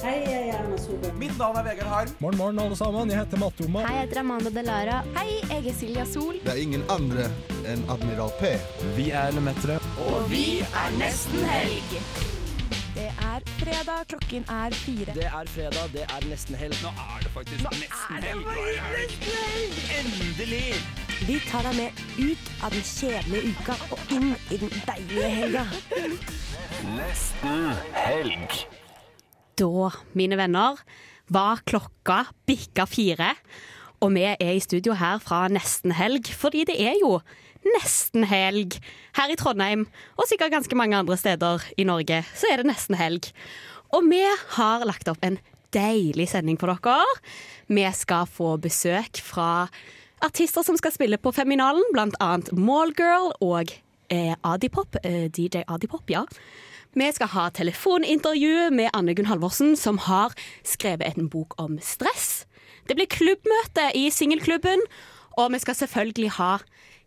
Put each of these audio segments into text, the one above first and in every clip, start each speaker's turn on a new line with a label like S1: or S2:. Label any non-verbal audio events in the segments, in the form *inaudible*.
S1: Hei, jeg er Erna Solberg.
S2: Mitt navn er Vegard Harm.
S3: Morgen, morgen, alle sammen. Jeg heter Matte Oma.
S4: Hei, jeg heter Amanda Delara. Hei, jeg er Silja Sol.
S5: Det er ingen andre enn Admiral P.
S3: Vi er Lemetere.
S4: Det er fredag, klokken er fire.
S2: Det er fredag, det er nesten helg. Nå er det faktisk nesten helg. Endelig!
S6: Vi tar deg med ut av den kjedelige uka og inn i den deilige helga.
S7: Da, mine venner, var klokka bikka fire. Og vi er i studio her fra nesten helg, fordi det er jo nesten helg her i Trondheim. Og sikkert ganske mange andre steder i Norge, så er det nesten helg. Og vi har lagt opp en deilig sending for dere. Vi skal få besøk fra artister som skal spille på Feminalen, blant annet Mallgirl og eh, Adipop. Eh, DJ Adipop, ja. Vi skal ha telefonintervju med Anne Gunn Halvorsen, som har skrevet en bok om stress. Det blir klubbmøte i Singelklubben, og vi skal selvfølgelig ha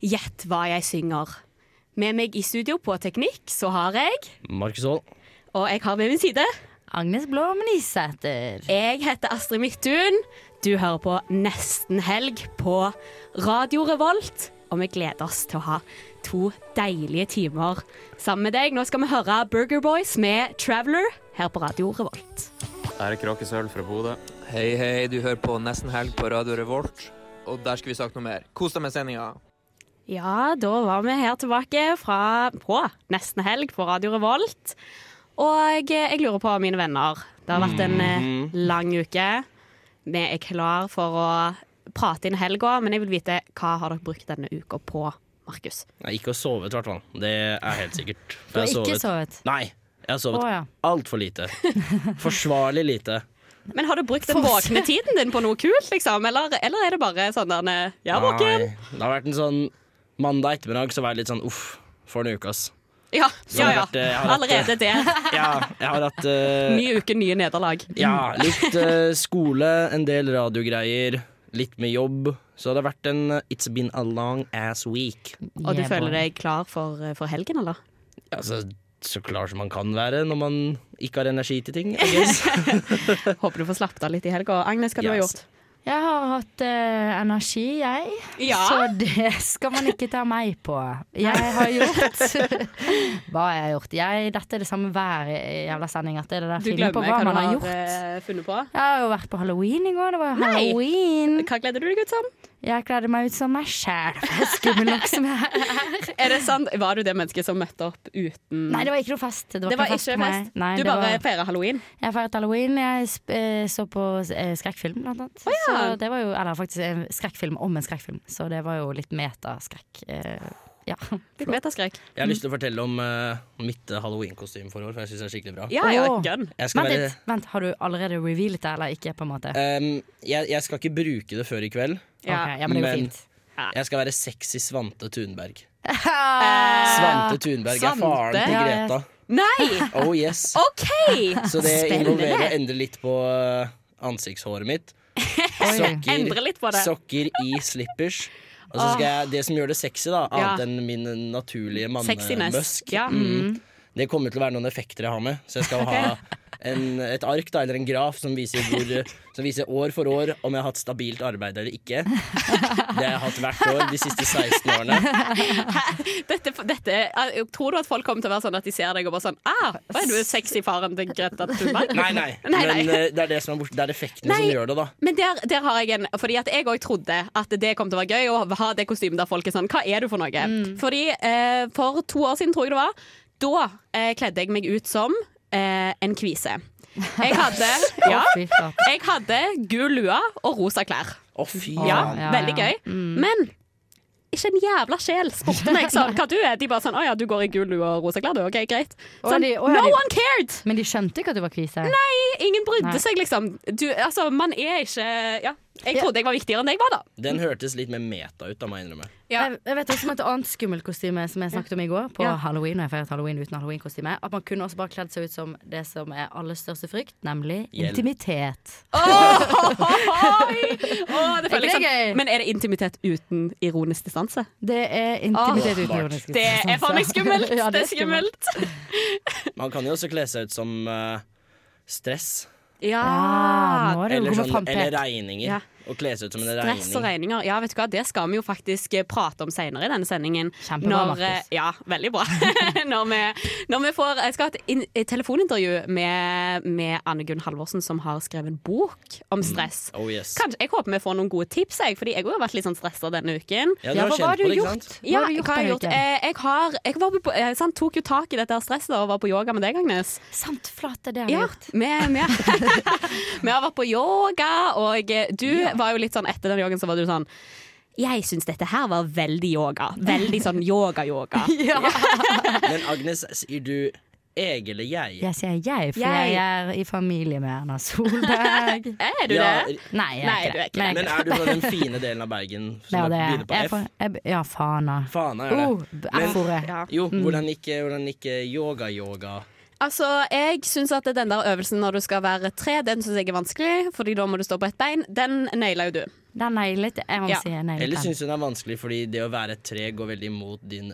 S7: Gjett hva jeg synger. Med meg i studio på teknikk så har jeg
S2: Markus Aall.
S7: Og jeg har ved min side
S8: Agnes Blom Nysæter.
S7: Jeg heter Astrid Midtun. Du hører på Nesten helg på Radio Revolt. Og vi gleder oss til å ha to deilige timer sammen med deg. Nå skal vi høre Burger Boys med 'Traveler' her på Radio Revolt.
S9: Her er Kråkesøl fra Bodø.
S10: Hei, hei, du hører på Nesten Helg på Radio Revolt, og der skal vi snakke noe mer. Kos deg med sendinga.
S7: Ja, da var vi her tilbake fra, på nesten helg på Radio Revolt. Og eh, jeg lurer på, mine venner Det har vært en eh, lang uke. Vi er klar for å prate inn helga, men jeg vil vite hva har dere brukt denne uka på, Markus?
S2: Nei, ikke å sove, i hvert fall. Det er helt sikkert.
S8: Du har ikke sovet.
S2: Nei, jeg har
S8: Å
S2: sovet
S8: ja.
S2: altfor
S8: *laughs*
S2: lite. Forsvarlig lite.
S7: Men har du brukt den
S8: Forse-
S7: våkne tiden din på noe kult, liksom? Eller, eller er det bare sånn der eh, Ja, våken!
S2: Nei, Det har vært en sånn mandag ettermiddag, så var jeg litt sånn uff, for en uke, ass.
S7: Ja, ja,
S2: har
S7: ja.
S2: vært, eh, jeg har vært,
S7: Allerede der.
S2: *laughs* Ja, jeg har hatt eh,
S7: Ny uke, nye nederlag.
S2: Ja, litt eh, skole, en del radiogreier, litt med jobb. Så det har vært en eh, It's been a long ass week.
S7: Og du føler deg klar for, eh, for helgen, eller?
S2: Altså, så klar som man kan være når man ikke har energi til ting. I guess.
S7: Håper du får slappet av litt i helga. Agnes, hva du har
S2: Yes.
S7: gjort?
S8: Jeg har hatt eh, energi, jeg. Så det skal man ikke ta meg på. Jeg har
S7: *laughs*
S8: gjort Hva har jeg gjort? Jeg, dette er det samme hver jævla sending. At det er det der
S7: du
S8: filmen på
S7: glemmer hva du
S8: hva man har
S7: har
S8: gjort.
S7: eh, funnet på.
S8: Jeg har jo vært på halloween i går. Det var jo
S7: Nei.
S8: halloween.
S7: Hva gleder du deg ut som?
S8: Jeg kledde meg ut som meg sjæl. Skummel nok som jeg er.
S7: Er det sant? Var du det mennesket som møtte opp uten
S8: Nei, det var ikke noe fest. Det var,
S7: Det var ikke
S8: for meg.
S7: fest?
S8: Nei,
S7: Du
S8: det
S7: bare
S8: var-
S7: feirer halloween?
S8: Jeg feiret halloween. Jeg sp- eh, så på eh, skrekkfilm, blant annet. Så det var jo, eller faktisk en skrekkfilm om en skrekkfilm, så det var jo litt metaskrekk. Eh, ja.
S7: Litt metaskrekk.
S2: Jeg har lyst til å fortelle om eh, mitt eh, halloweenkostyme for i år, for jeg syns det er skikkelig bra.
S7: Ja, ja,
S8: Åh.
S7: gønn.
S2: Jeg skal,
S8: Vent
S2: være,
S8: litt, vent, har du allerede revealet det, eller ikke? på en måte?
S2: ehm, jeg, jeg skal ikke bruke det før i kveld.
S7: Ja.
S8: Ok, ja, men det går
S2: men-
S8: fint.
S2: Jeg skal være sexy Svante
S8: *laughs*
S2: Thunberg.
S7: Eh,
S2: Svante Thunberg er
S7: Svante?
S2: faren til
S8: Ja,
S2: Greta.
S7: Nei!
S2: Oh yes.
S7: OK! *laughs*
S2: Så det
S7: Spennende.
S2: involverer å endre litt på eh, ansiktshåret
S7: *laughs*
S2: mitt. Sokker,
S7: Endre litt på det.
S2: sokker i slippers. Og så skal jeg, det som gjør det sexy, da,
S7: Ja.
S2: annet enn min naturlige
S7: Sexiness.
S2: mannemøsk,
S7: Ja. Mm.
S2: det kommer til å være noen effekter jeg har med. Så jeg skal ha en, et ark da, eller en graf som viser, hvor, som viser år for år om jeg har hatt stabilt arbeid eller ikke. Det har jeg hatt hvert år de siste 16 årene.
S7: Dette, dette, jeg tror du at folk kommer til å være sånn at de ser deg og bare sånn ah, hva Er du sexy faren til Greta Thunberg?
S2: Nei, nei.
S7: *laughs* Nei, nei.
S2: Men eh, det er det som er borte. Det er effektene som
S7: Nei.
S2: gjør det, da.
S7: Men der, der har jeg en Fordi at jeg òg trodde at det kom til å være gøy å ha det kostymet der folk er sånn Hva er du for noe? Fordi eh, for to år siden, tror jeg det var, da eh, kledde jeg meg ut som eh, en kvise. Jeg hadde, ja,
S8: Å, fy flate.
S7: jeg hadde gul lue og rosa klær.
S2: Å, fy.
S7: Ja,
S8: ja, Mm.
S7: veldig
S8: ja.
S7: gøy. Men ikke en jævla sjel spurte meg sånn, hva du er. De bare sånn 'Å ja, du går i gul lue og rosa klær, du. OK, greit.'
S8: Å,
S7: Sånn,
S8: de- å, ja,
S7: no
S8: de-
S7: one cared!
S8: Men de skjønte ikke at du var kvise?
S7: Ingen brydde
S8: Nei.
S7: seg, liksom. Du, altså, man er ikke Ja. Jeg trodde jeg var viktigere enn det jeg var, da.
S2: Den hørtes litt mer meta ut, da må jeg innrømme.
S7: Ja.
S8: Jeg, jeg vet også om et annet skummelt kostyme som jeg snakket om i går, på
S7: Ja.
S8: halloween. Og jeg feiret halloween uten halloweenkostyme. At man kunne også bare kledd seg ut som det som er alles største frykt, nemlig
S2: Hjelp.
S8: intimitet.
S7: *laughs* Oi! Åh, det føler jeg
S8: Er ikke det
S7: sånn.
S8: gøy?
S7: Men er det intimitet uten ironisk distanse?
S8: Det er intimitet
S2: Åh.
S8: uten ironisk
S7: Det er faen meg skummelt!
S8: Ja,
S7: det er skummelt.
S2: Man
S11: Man kan jo også kle seg ut som eh, stress.
S7: Ja.
S8: Ah, nå er det
S11: Eller,
S8: jo
S11: sånn,
S8: kommet fram
S11: eller
S8: til.
S11: regninger.
S7: Ja.
S11: Og kle seg ut som en regning.
S7: Stress og regninger. Ja, vet du hva, det skal vi jo faktisk eh, prate om senere i denne sendingen.
S8: Kjempebra,
S7: Når,
S8: Markus.
S7: eh, Ja, veldig bra. *laughs* når, vi, når vi får Jeg skal ha et, in, et telefonintervju med, med Anne Gunn Halvorsen, som har skrevet en bok
S8: Mm.
S7: om stress.
S11: Oh yes.
S7: Kanskje, jeg håper vi får noen gode tips, jeg, fordi jeg også har vært litt sånn stressa denne uken.
S11: Ja,
S8: Ja,
S11: har
S8: hva
S11: kjent
S8: har
S11: på
S8: du
S11: det, ikke sant?
S8: gjort? Hva
S7: Ja,
S8: har du
S7: hva har jeg gjort?
S8: denne uken?
S7: Eh, Jeg, har, jeg var på, eh, sant, tok jo tak i dette her stresset og var på yoga med deg, Agnes.
S8: Sant, flate, det har
S7: Ja,
S8: jeg gjort.
S7: vi, vi, *laughs* vi har vært på yoga, og eh, du var jo litt sånn etter den yogaen så var du sånn jeg syns dette her var veldig yoga. Veldig sånn *laughs* yoga-yoga.
S11: Men Agnes, sier du jeg eller jeg?
S8: Jeg sier jeg, for
S7: Jeg.
S8: jeg er i familie med Erna Solberg.
S7: Er du
S11: Ja,
S7: det?
S8: Nei, jeg
S7: Nei,
S8: er
S7: du er
S8: ikke det.
S7: ikke
S11: Men er du fra den fine delen av Bergen
S2: sånn
S11: som
S8: Ja, det er
S11: begynner på
S8: jeg. er
S11: F?
S8: fra- jeg- Ja, Fana.
S11: Fana er det.
S8: Oh, Mm. F-ordet.
S7: Ja.
S11: Jo, hvordan gikk, eh, hvordan gikk yoga-yoga?
S7: Altså, jeg syns at den der øvelsen når du skal være tre, den syns jeg er vanskelig, fordi da må du stå på ett bein. Den naila jo du.
S8: Den nailet jeg. må
S7: Ja.
S8: si jeg nailet
S11: Eller
S8: den.
S11: syns hun det er vanskelig fordi det å være et tre går veldig imot din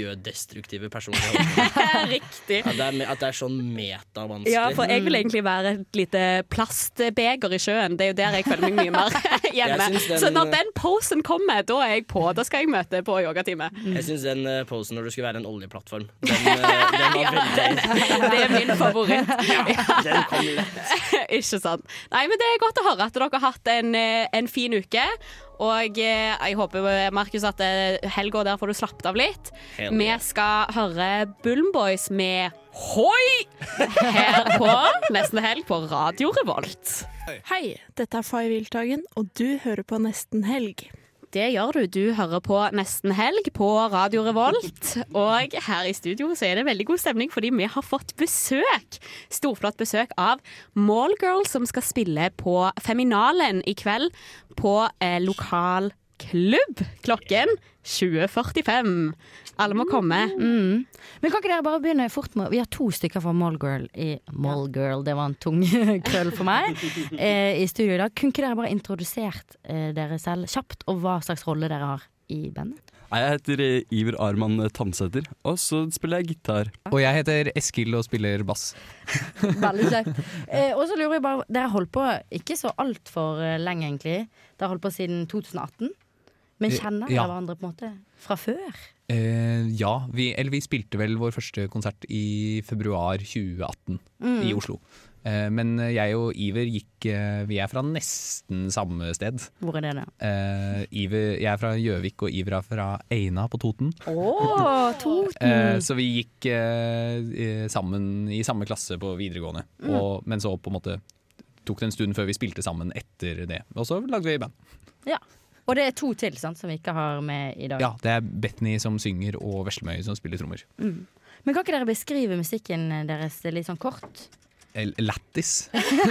S11: miljødestruktive personlige
S8: *laughs*
S11: holdning?
S7: *laughs* Riktig.
S11: At det er, me- at det er sånn metavanskelig.
S7: Ja, for jeg vil egentlig være et lite plastbeger i sjøen. Det er jo der jeg føler meg mye mer *laughs* hjemme.
S11: Jeg syns den-
S7: Så når den posen kommer, da er jeg på. Da skal jeg møte på yogatime.
S11: Jeg syns den eh, posen når du skulle være en oljeplattform, den,
S7: *laughs*
S11: eh, den var veldig
S7: Det er min favoritt.
S11: Den kom lett.
S7: *laughs* Ikke sant. Nei, men det er godt å høre at dere har hatt en, eh, en fin uke. Og eh, jeg håper, eh, Markus, at eh, helga der får du slappet av litt.
S11: Hell
S7: Vi
S11: yeah.
S7: skal høre Bullen Boys med Hoi! Her på Nesten Helg på Radio Revolt.
S4: Hei, dette er Fay Wiltagen, og du hører på Nesten Helg.
S7: Det gjør du. Du hører på Nesten helg på Radio Revolt. Og her i studio så er det veldig god stemning, fordi vi har fått besøk. Storflott besøk av Mallgirl, som skal spille på Feminalen i kveld på eh, lokal klubb klokken 20.45. Alle må komme. Mm.
S8: Men kan ikke dere bare begynne fort med Vi har to stykker fra Mallgirl i Mallgirl, det var en tung *laughs* krøll for meg, eh, i studio i dag. Kunne ikke dere bare introdusert eh, dere selv kjapt, og hva slags rolle dere har i bandet?
S1: Jeg heter eh, Iver Arman Tandsæter, og så spiller jeg gitar.
S12: Og jeg heter Eskil og spiller bass.
S8: Veldig kjekt. *laughs* Eh, og så lurer jeg bare Dere har holdt på ikke så altfor lenge, egentlig. Dere har holdt på siden 2018. Men
S5: Eh,
S8: kjenner dere
S12: Ja.
S8: hverandre på en måte fra før?
S12: Eh, ja, vi, eller vi spilte vel vår første konsert i februar 2018 i Oslo. Eh, men jeg og Iver gikk eh, Vi er fra nesten samme sted.
S8: Hvor er det, da?
S12: Eh, Iver, jeg er fra Gjøvik, og Iver er fra Eina på Toten.
S8: Å, Toten!
S12: Eh, Så vi gikk eh, eh, sammen i samme klasse på videregående. Og, men så på en måte tok det en stund før vi spilte sammen etter det. Og så lagde vi band.
S8: Ja. Og det er to til sant, som vi ikke har med i dag.
S12: Ja, Det er Betny som synger og Veslemøy som spiller trommer.
S8: Men kan ikke dere beskrive musikken deres litt sånn kort?
S12: El-
S8: *laughs*
S12: Lattis.
S1: Jeg,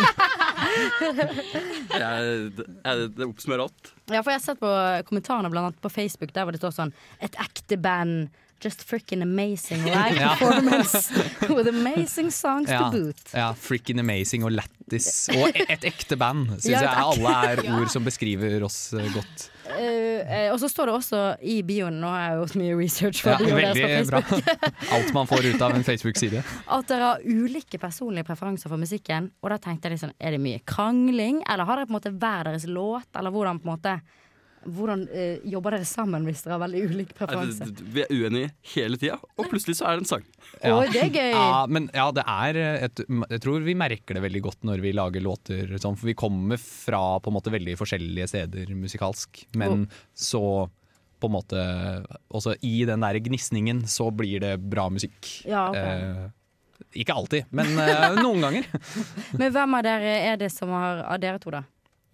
S1: det, jeg, det oppsummerer alt.
S8: Ja, for jeg har sett på kommentarene blant annet på Facebook der hvor det står sånn Et ekte band. Just freaking amazing
S12: *laughs*
S8: live
S12: Ja.
S8: performance with amazing songs
S12: Ja.
S8: to boot.
S12: Ja, Frickin' amazing og lattis. Og e- et ekte band, syns
S8: *laughs* Ja,
S12: jeg
S8: et ekte-
S12: alle er ord som beskriver oss eh, godt.
S8: Eh, eh, og så står det også i bioen, nå har jeg gjort mye research for
S12: Ja,
S8: bioen deres på
S12: veldig bra.
S8: Facebook,
S12: Alt man får ut av en Facebook-side.
S8: at dere har ulike personlige preferanser for musikken. Og da tenkte jeg litt sånn, er det mye krangling, eller har dere på en måte hver deres låt, eller hvordan på en måte hvordan eh, jobber dere sammen hvis dere har veldig ulik preferanse?
S1: Jeg, vi er uenige hele tida, og plutselig så er det en sang.
S12: Ja.
S8: Å, det er gøy!
S12: Ja, men ja, det er eh, et, Jeg tror vi merker det veldig godt når vi lager låter sånn, for vi kommer fra på en måte veldig forskjellige steder musikalsk, men så på en måte Også i den der gnisningen så blir det bra musikk.
S8: Ja, ok.
S12: eh, ikke alltid, men eh, noen ganger.
S8: Men hvem av dere er det som har Av dere to, da.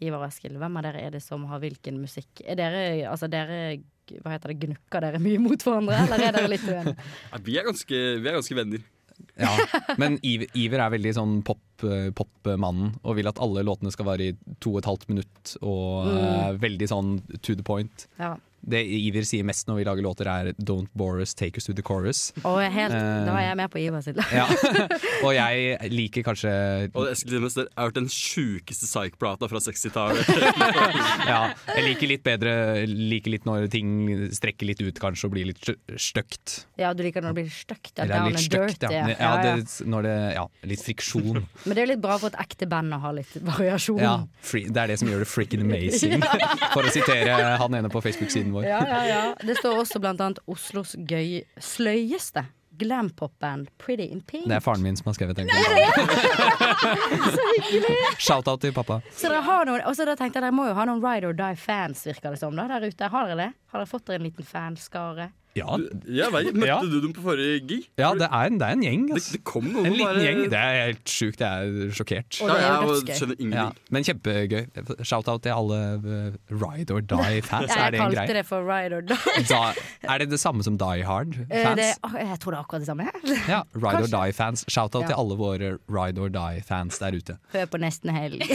S8: Ivar og Eskil. Hvem av dere er det som har hvilken musikk? Er dere, altså dere Hva heter det, gnukker dere mye mot hverandre, eller er dere litt uenige?
S1: Ja, Vi er ganske, vi er ganske venner.
S12: Ja. Men Iver, Iver er veldig sånn pop- eh, pop-mannen og vil at
S8: Mm.
S12: alle låtene skal vare i to og et halvt minutt og eh, veldig sånn to the point.
S8: Ja.
S12: det Iver sier mest når vi lager låter, er 'Don't bore us, take us to the chorus'. Eh,
S8: Og jeg er helt, da er jeg med på Ivar sitt lag.
S12: Ja. *laughs* og jeg liker kanskje
S1: Og Eskil Thimmes, det er jo den sjukeste psych-plata fra *laughs* 60-tallet.
S12: ja, Jeg liker litt bedre liker litt når ting strekker litt ut kanskje og blir litt stø- støkt.
S8: Ja, du liker når det blir stygt. ja,
S12: Eller
S8: down
S12: litt
S8: and
S12: støkt,
S8: dirty,
S12: ja.
S8: ja.
S12: ja,
S8: Ja, ja.
S12: det, når det, ja litt friksjon.
S8: Men det er jo litt bra for et ekte band å ha litt variasjon.
S12: Ja, free, det er det som gjør det freaking
S8: *laughs*
S12: amazing, for å sitere han ene på Facebook-siden vår.
S8: Ja, ja, ja. Det står også blant annet Oslos gøy sløyeste glampop-band Pretty in Pink.
S12: Det er faren min som har skrevet den. Så *laughs* hyggelig! Shout-out til pappa.
S8: Så dere har noen, og så da tenkte jeg dere må jo ha noen Ride or Die-fans, virker det som, da, der ute. Har dere det? Har dere fått dere en liten fanskare?
S12: Ja,
S1: Jeg vet, Møtte
S12: Ja.
S1: du dem på forrige gig?
S12: ja det, er en, det er en gjeng.
S1: Det,
S12: ass.
S1: det kom noen
S12: En
S1: og
S12: liten
S1: bare-
S12: gjeng. Det er helt sjukt. Jeg er sjokkert.
S8: Og
S1: Ja,
S8: det er jo
S1: jeg
S8: dødsgøy.
S1: skjønner
S12: Ja,
S1: ingenting.
S12: men kjempegøy. Shout-out til alle eh, Ride or
S8: *laughs*
S12: Die-fans.
S8: Ja,
S12: Er
S8: jeg
S12: det en
S8: kalte
S12: greie?
S8: det for Ride
S12: *laughs*
S8: or Die.
S12: Da, er det det samme som Die
S8: Eh, Det,
S12: Hard-fans?
S8: ah, jeg tror det er akkurat det samme. her.
S12: Ja, Ride or
S8: Kanskje.
S12: Die-fans. Shout-out
S8: Ja.
S12: til alle våre Ride or Die-fans der ute.
S8: *laughs* Hør på nesten helg. *laughs*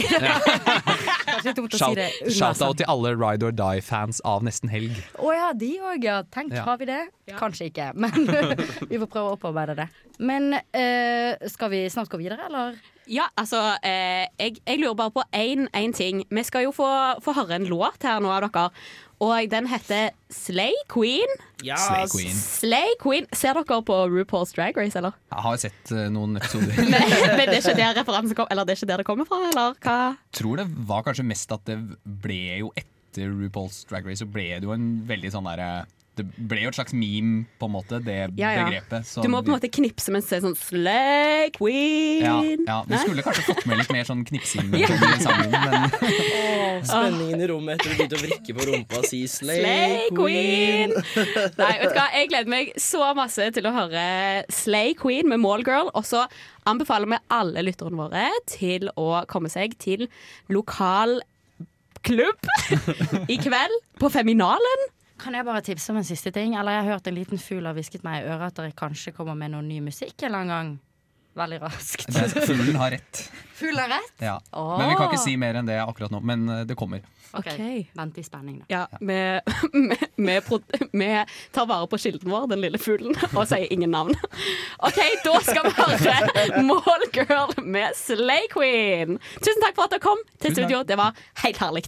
S8: Kanskje dumt å si det under
S12: Shout-out til alle Ride or Die-fans av Nesten Helg.
S8: Å ja, de òg, ja. Tenk,
S12: Ja.
S8: har vi det? Kanskje ikke, men *laughs* vi får prøve å opparbeide det. Men eh, skal vi snart gå videre, eller?
S7: Ja, altså, eh, jeg, jeg lurer bare på én, én ting. Vi skal jo få, få høre en låt her nå av dere. Og den heter Slay Queen.
S11: Ja,
S12: Slay Queen.
S7: Slay Queen. Ser dere på RuPaul's Drag Race, eller?
S12: Jeg har sett eh,
S13: *laughs*
S12: noen episoder.
S7: *laughs* Men, men det er ikke der referansen kom, Eller det er ikke der det kommer fra, eller hva?
S12: tror det var kanskje mest at det ble jo etter RuPaul's Drag Race, så ble det jo en veldig sånn derre Det ble jo et slags meme, på en måte, det
S7: Ja, ja.
S12: begrepet. så
S7: Du må på en måte knipse mens du sier sånn Slay Queen.
S12: ja, ja, Vi
S7: Nei?
S12: skulle kanskje fått med litt mer sånn
S7: *laughs*
S12: knipsing i sangen, men
S7: Ah.
S11: Spenningen i rommet etter å begynne å vrikke på rumpa og si Slay
S7: Slay Queen! Nei, vet du hva? Jeg gleder meg så masse til å høre Slay Queen med Mallgirl. Og så anbefaler vi alle lytterne våre til å komme seg til lokal klubb
S12: *laughs*
S7: i kveld på Feminalen.
S8: Kan jeg bare tipse om en siste ting? Eller jeg har hørt en liten fugl har hvisket meg i øret at dere kanskje kommer med noe ny musikk en eller annen gang. Veldig raskt.
S12: det, fuglen har rett.
S8: Fugl har rett!
S12: Ja.
S8: Åh.
S12: Men vi kan ikke si mer enn det akkurat nå. Men eh, det kommer.
S8: *laughs* Ok,
S7: Ok.
S8: Vent i spenning, da.
S7: Ja, vi, vi, vi, pro- vi tar vare på kilden vår, den lille fuglen, og sier ingen navn. OK, da skal vi høre Mallgirl med Slay Queen. Tusen takk for at dere kom til
S12: Tusen takk.
S7: studio. Det var helt herlig.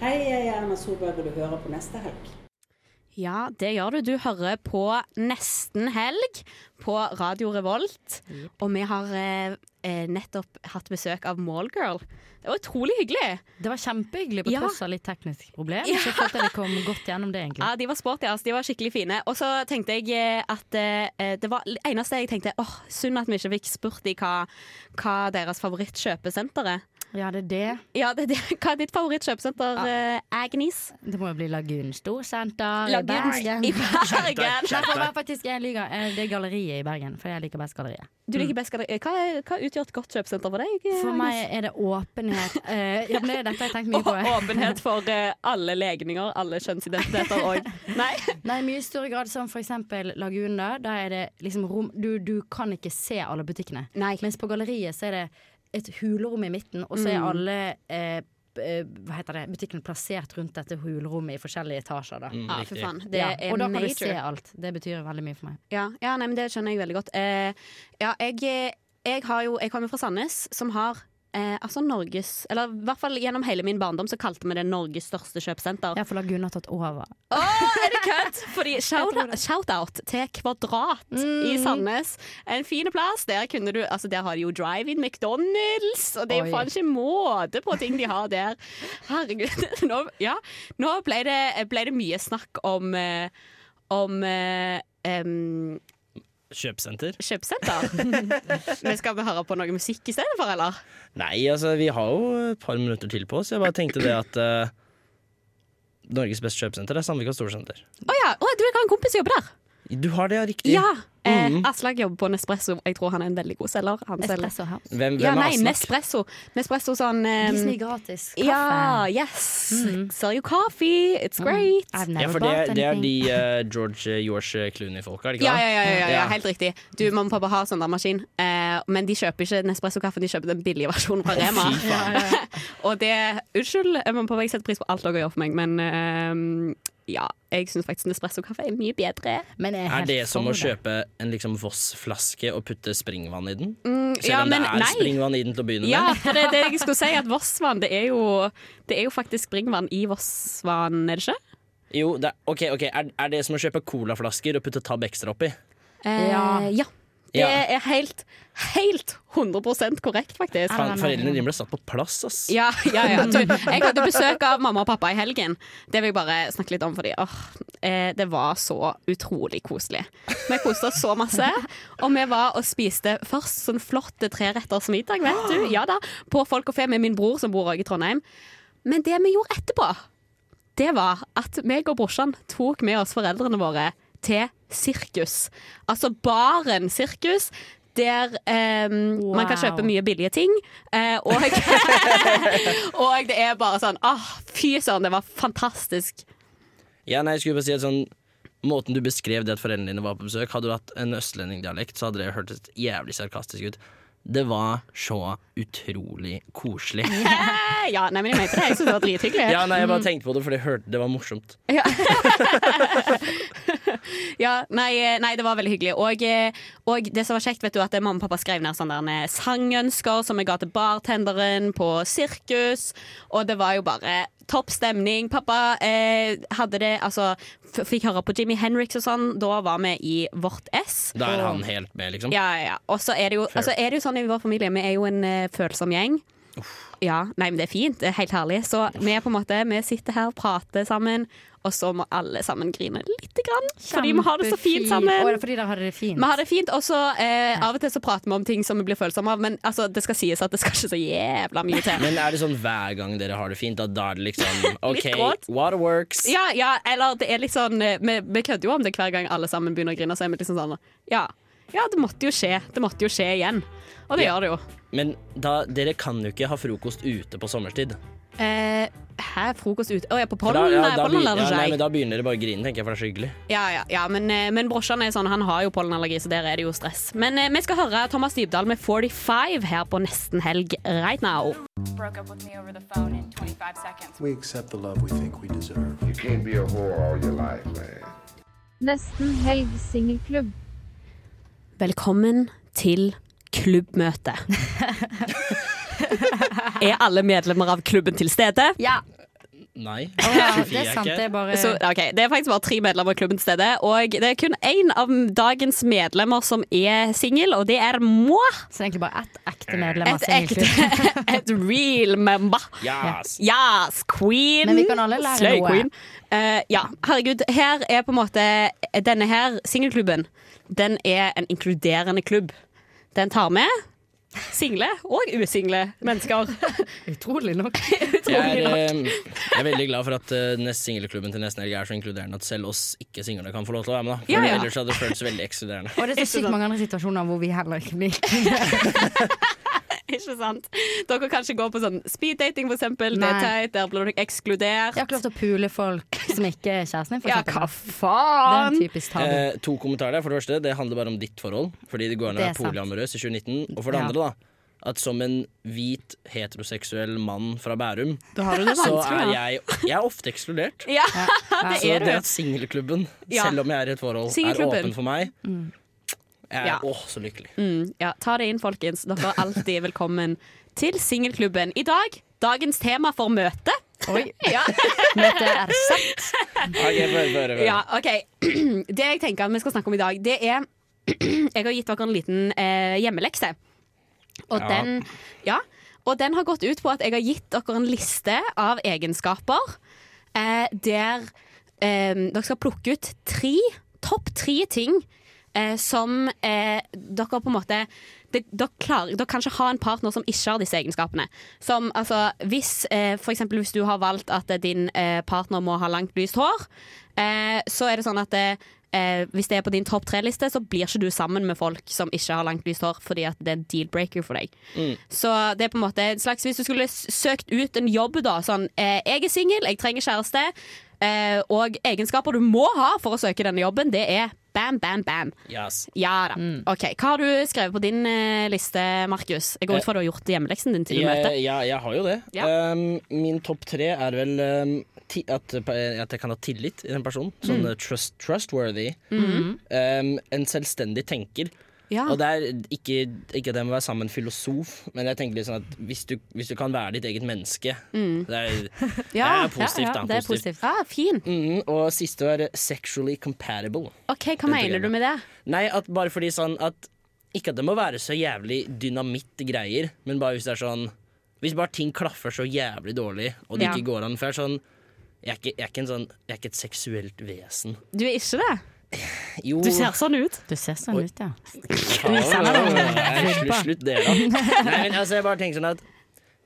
S14: Hei, jeg er Erna Solberg, og du hører på neste helg.
S7: Ja, det gjør du. Du hører på Nesten helg på Radio Revolt. Og vi har eh, eh, nettopp hatt besøk av Mallgirl. Det var utrolig hyggelig.
S8: Det var kjempehyggelig på
S7: Ja.
S8: tross av litt tekniske problemer. Så jeg følte vi kom godt gjennom det, egentlig.
S7: Ja, De var sporty, altså. De var skikkelig fine. Og så tenkte jeg eh, at eh, det var eneste jeg tenkte åh, synd at vi ikke fikk spurt i hva, hva deres favorittkjøpesenter er.
S8: Ja, det er det.
S7: Ja, det, *laughs* det, hva er ditt favorittkjøpesenter, eh, Agnes?
S8: Det må jo bli Lagun Storsenter i
S7: Lagun
S8: Bergen.
S7: i Bergen.
S8: Nei, for å være faktisk, jeg liker eh, det galleriet i Bergen, for jeg liker best galleriet.
S7: Du liker best galleri. Hva, er- hva utgjør et godt kjøpesenter for deg?
S8: For
S7: Agnes?
S8: meg er det åpenhet. Eh, ja, men det er dette jeg har tenkt mye
S7: Og
S8: på.
S7: *laughs* åpenhet for eh, alle legninger, alle kjønnsidentiteter og
S8: *laughs*
S7: Nei.
S8: Nei, i mye større grad som for eksempel Lagunen. Da Da er det liksom rom du, du kan ikke se alle butikkene.
S7: Nei.
S8: Mens på galleriet så er det et hulrom i midten, og så
S7: Mm.
S8: er alle eh, b- eh, hva heter det, butikkene plassert rundt dette hulrommet i forskjellige etasjer. Da.
S7: Mm. Ja, for faen. Det
S8: Ja,
S7: er
S8: Mm, og da kan du se
S7: major.
S8: alt. Det betyr veldig mye for meg.
S7: Ja, ja nei, men det skjønner jeg veldig godt. Eh, ja, jeg, jeg har jo Jeg kommer fra Sandnes, som har eh, altså Norges Eller i hvert fall gjennom hele min barndom så kalte vi det Norges største kjøpesenter.
S8: Ja, for Lagunen har tatt over.
S7: Å, er det
S8: *laughs*
S7: kødd?! Fordi shout-out shout til Kvadrat i
S8: Mm.
S7: Sandnes. En fin plass. Der kunne du Altså, der har de jo drive-in McDonald's, og det er jo
S8: Oi.
S7: faen ikke måte på ting de har der. Herregud. *laughs* Nå, ja. Nå ble det, ble det mye snakk om eh, om eh, em,
S11: Kjøpesenter?
S7: kjøpesenter. *laughs* Men skal vi høre på noe musikk i stedet for, eller?
S11: Nei, altså, vi har jo et par minutter til på oss. Jeg bare tenkte det at eh, Norges beste kjøpesenter er Sandvika Storsenter.
S7: Å ja! Å, du jeg har en kompis som jobber der.
S2: Du har det, ja, riktig.
S7: Ja! Eh,
S2: Mhm.
S7: Aslak jobber på Nespresso. Jeg tror han er en veldig god selger. Han selger-
S8: Espresso House.
S2: Hvem- hvem
S7: ja,
S2: er
S7: nei,
S2: Aslak?
S7: Nespresso. Nespresso sånn eh,
S8: De som gir gratis kaffe.
S7: Ja, yes. Sell you coffee. It's
S8: Mm.
S7: great.
S8: I've never
S2: Ja, for
S8: bought
S2: det, det er
S8: anything.
S2: de eh, George eh, George Clooney-folka, er det ikke
S7: Ja, ja,
S2: det?
S7: ja, ja, ja, helt riktig. Du, Mamma og pappa har sånn der maskin, eh, men de kjøper ikke Nespresso-kaffe, de kjøper den billige versjonen fra Rema.
S2: Fy faen.
S7: *laughs* og det Unnskyld, eh, mamma og pappa, jeg setter pris på alt dere gjør for meg, men eh, ja, jeg syns faktisk Nespresso-kaffe er mye bedre.
S8: Men jeg
S2: Er
S8: helt
S2: det som
S8: for
S2: å
S7: sånn
S2: kjøpe en liksom Voss-flaske og putte springvann i den?
S7: Mm,
S2: Selv
S7: ja,
S2: om
S7: men
S2: det er
S7: nei.
S2: springvann i den til å begynne
S7: Ja,
S2: med?
S7: for det er det jeg skulle si, at Vossvann, det er jo, det er jo faktisk springvann i Vossvann, er det ikke?
S2: Jo, det, er- ok, ok, er, er det som å kjøpe colaflasker og putte Tab Extra oppi?
S7: Eh,
S8: Ja.
S7: ja. Det
S2: Ja.
S7: er helt, helt 100 korrekt, faktisk.
S2: Faen, foreldrene dine ble satt på plass, ass.
S7: Ja, ja, ja. Du, jeg hadde besøk av mamma og pappa i helgen. Det vil jeg bare snakke litt om, fordi åh, eh, det var så utrolig koselig. Vi koste oss så masse, og vi var og spiste først sånn flott treretters middag, vet du. Ja da, på Folk og Fe med min bror, som bor også i Trondheim. Men det vi gjorde etterpå, det var at meg og brorsan tok med oss foreldrene våre til sirkus. Altså baren sirkus. Der eh, man kan
S8: Wow.
S7: kjøpe mye billige ting. eh, og *laughs* og det er bare sånn Åh, fy søren, det var fantastisk.
S2: Ja, nei, jeg skulle bare si at sånn Måten du beskrev det at foreldrene dine var på besøk Hadde du hatt en østlendingdialekt, så hadde det hørtes jævlig sarkastisk ut. Det var så utrolig koselig.
S7: Eh, ja, Mm. nei, men jeg mente det. Jeg syns det var drithyggelig.
S2: Ja, nei, jeg bare tenkte på det, for jeg hørte det var morsomt.
S7: Ja. *laughs* ja, nei, eh, nei, det var veldig hyggelig. Og, eh, og det som var kjekt, vet du, at mamma og pappa skrev ned sånne der, eh, sangønsker som jeg ga til bartenderen på sirkus. Og det var jo bare topp stemning. Pappa eh, hadde det Altså, f fikk høre på Jimmy Henriks og sånn. Da var vi i vårt ess.
S2: Da er han helt med, liksom.
S7: Ja, ja, ja. Og så er det jo,
S2: Fair.
S7: altså, er det jo sånn i vår familie, vi er jo en eh, følsom gjeng. Ja, nei, men det er fint. Det er helt herlig. Så vi er på en måte, vi sitter her og prater sammen, og så må alle sammen grine lite grann. Fordi vi har det så fint
S8: Kjempefint. Å, det
S7: sammen.
S8: er fordi dere har det fint.
S7: Vi har det fint, og så eh, av og til så prater vi om ting som vi blir følsomme av, men altså, det skal sies at det skal ikke så jævla mye til.
S2: Men er det sånn hver gang dere har det fint, at da er det
S7: *laughs*
S2: liksom OK,
S7: gråt.
S2: waterworks.
S7: Ja, ja, eller det er litt sånn eh, Vi, vi kødder jo om det hver gang alle sammen begynner å grine, så er vi liksom sånn Ja, ja det måtte jo skje. Det måtte jo skje igjen. Og det
S2: Ja.
S7: gjør det jo.
S2: Men da, dere kan jo ikke ha frokost ute på sommerstid.
S7: Eh, hæ, frokost ute? Å ja, på
S2: For
S7: pollen?
S2: ja,
S7: Nei, pollen
S2: begyn-
S7: lærer
S2: ja,
S7: ikke
S2: nei, men
S7: jeg.
S2: da begynner dere bare å grine, tenker jeg, for det er så hyggelig.
S7: Ja, ja, ja, men, eh, men brorsan er sånn, han har jo pollenallergi, så der er det jo stress. Men eh, vi skal høre Thomas Dybdahl med 45 her på Nesten helg right now.
S15: broke up with me over the phone in 25 seconds.
S16: We accept the love we think we deserve.
S17: You can't be a whore all your life, man.
S18: Nesten helg singelklubb.
S7: Velkommen til
S18: *laughs*
S7: klubbmøte. er alle medlemmer av klubben til stede?
S8: Ja.
S2: Nei.
S8: ja,
S2: Sofie
S8: det er sant.
S2: ikke
S8: Det er bare
S7: Så, ok, det er faktisk bare tre medlemmer av klubben til stede, og det er kun én av dagens medlemmer som er singel, og det er moi.
S8: Så det er egentlig bare ett ekte medlem av
S7: Et ekte, *laughs* et real member.
S2: Yes.
S7: Yes, queen.
S8: Men vi kan alle lære
S7: Slay
S8: noe.
S7: queen. Eh, ja, herregud. Her er på en måte denne her singelklubben. Den er en inkluderende klubb. Den tar med single og usingle mennesker. *laughs*
S8: Utrolig nok.
S2: Jeg er, eh, jeg er veldig glad for at eh, nest singelklubben til nesten helg er så inkluderende at selv oss ikke-singlene kan få lov til å være med. Da. For
S8: Ja, ja.
S2: Ellers hadde det føltes veldig ekskluderende.
S8: *laughs* Og det er så sykt mange andre situasjoner hvor vi heller ikke blir
S7: Ikke sant? Dere kan ikke gå på sånn speeddating, for eksempel. Det er
S8: Nei.
S7: teit. Der blir dere ekskludert.
S8: Jeg har ikke lov til å pule folk som ikke er kjæresten din, for
S7: Ja, hva
S8: eksempel. Det
S7: faen?
S8: er en typisk tabu.
S2: Eh, to kommentarer der. For det første, det handler bare om ditt forhold. Fordi det går an å
S8: Det er
S2: være polyamorøs i 2019. Og for det
S8: Ja.
S2: andre, da. At som en hvit, heteroseksuell mann fra Bærum,
S7: Da har du det
S2: så
S7: vanskelig,
S2: er
S7: ja.
S2: jeg, jeg er ofte ekskludert.
S7: Ja, det
S2: så
S7: er
S2: det
S7: du.
S2: at singelklubben,
S7: Ja.
S2: selv om jeg er i et forhold, er
S7: Singelklubben. Mm.
S2: åpen for meg, jeg er
S7: Ja.
S2: åh, så lykkelig.
S7: Mm, ja, ta det inn, folkens. Dere er alltid velkommen til Singelklubben. I dag, dagens tema for møte.
S8: Oi.
S7: ja.
S8: Møtet er satt.
S2: Ok, få høre, få høre, få høre.
S7: ja, OK. *clears throat* Det jeg tenker at vi skal snakke om i dag, det er *clears throat* Jeg har gitt dere en liten eh, hjemmelekse. Og
S8: Ja.
S7: den Ja. Og den har gått ut på at jeg har gitt dere en liste av egenskaper eh, der eh, dere skal plukke ut tre, topp tre ting eh, som eh, dere på en måte det, dere, klarer, dere kan ikke ha en partner som ikke har disse egenskapene. Som altså hvis eh, For eksempel hvis du har valgt at eh, din eh, partner må ha langt, lyst hår, eh, så er det sånn at eh, eh, hvis det er på din topp tre-liste, så blir ikke du sammen med folk som ikke har langt lyst hår, fordi at det er en deal-breaker for deg.
S2: Mm.
S7: Så det er på en måte en slags Hvis du skulle s- søkt ut en jobb, da, sånn eh, Jeg er singel, jeg trenger kjæreste, eh, og egenskaper du må ha for å søke denne jobben, det er bam, bam, bam.
S2: Yes.
S7: Ja da.
S2: Mm.
S7: OK. Hva har du skrevet på din eh, liste, Markus? Jeg går ut fra du har gjort hjemmeleksen din til
S2: jeg,
S7: møtet.
S2: Ja, jeg har jo det. Um, min topp tre er vel um, ti at, eh, at jeg kan ha tillit i den personen. Sånn
S7: Mm.
S2: uh, trust, trustworthy.
S7: Mhm.
S2: Um, en selvstendig tenker.
S7: Ja.
S2: Og det er ikke, ikke at jeg må være sammen med en filosof, men jeg tenker litt sånn at hvis du, hvis du kan være ditt eget menneske
S7: Mm.
S2: Det er,
S7: *laughs* Ja,
S2: det er positivt.
S7: ja, ja,
S2: da,
S7: det er positivt. Ah, fin.
S2: Mhm, og siste var sexually compatible.
S7: OK, hva mener du med det?
S2: Nei, at bare fordi sånn at Ikke at det må være så jævlig dynamitt-greier, men bare hvis det er sånn Hvis bare ting klaffer så jævlig dårlig, og det
S7: Ja.
S2: ikke går an For jeg er sånn jeg er, ikke, jeg, er ikke en sånn, jeg er ikke et seksuelt vesen.
S7: Du er ikke det?
S2: Jo.
S7: Du ser sånn ut.
S8: Du ser sånn ut, ja. sånn
S2: Nei, Slutt, slutt det, da. Nei, men altså, jeg bare tenker sånn at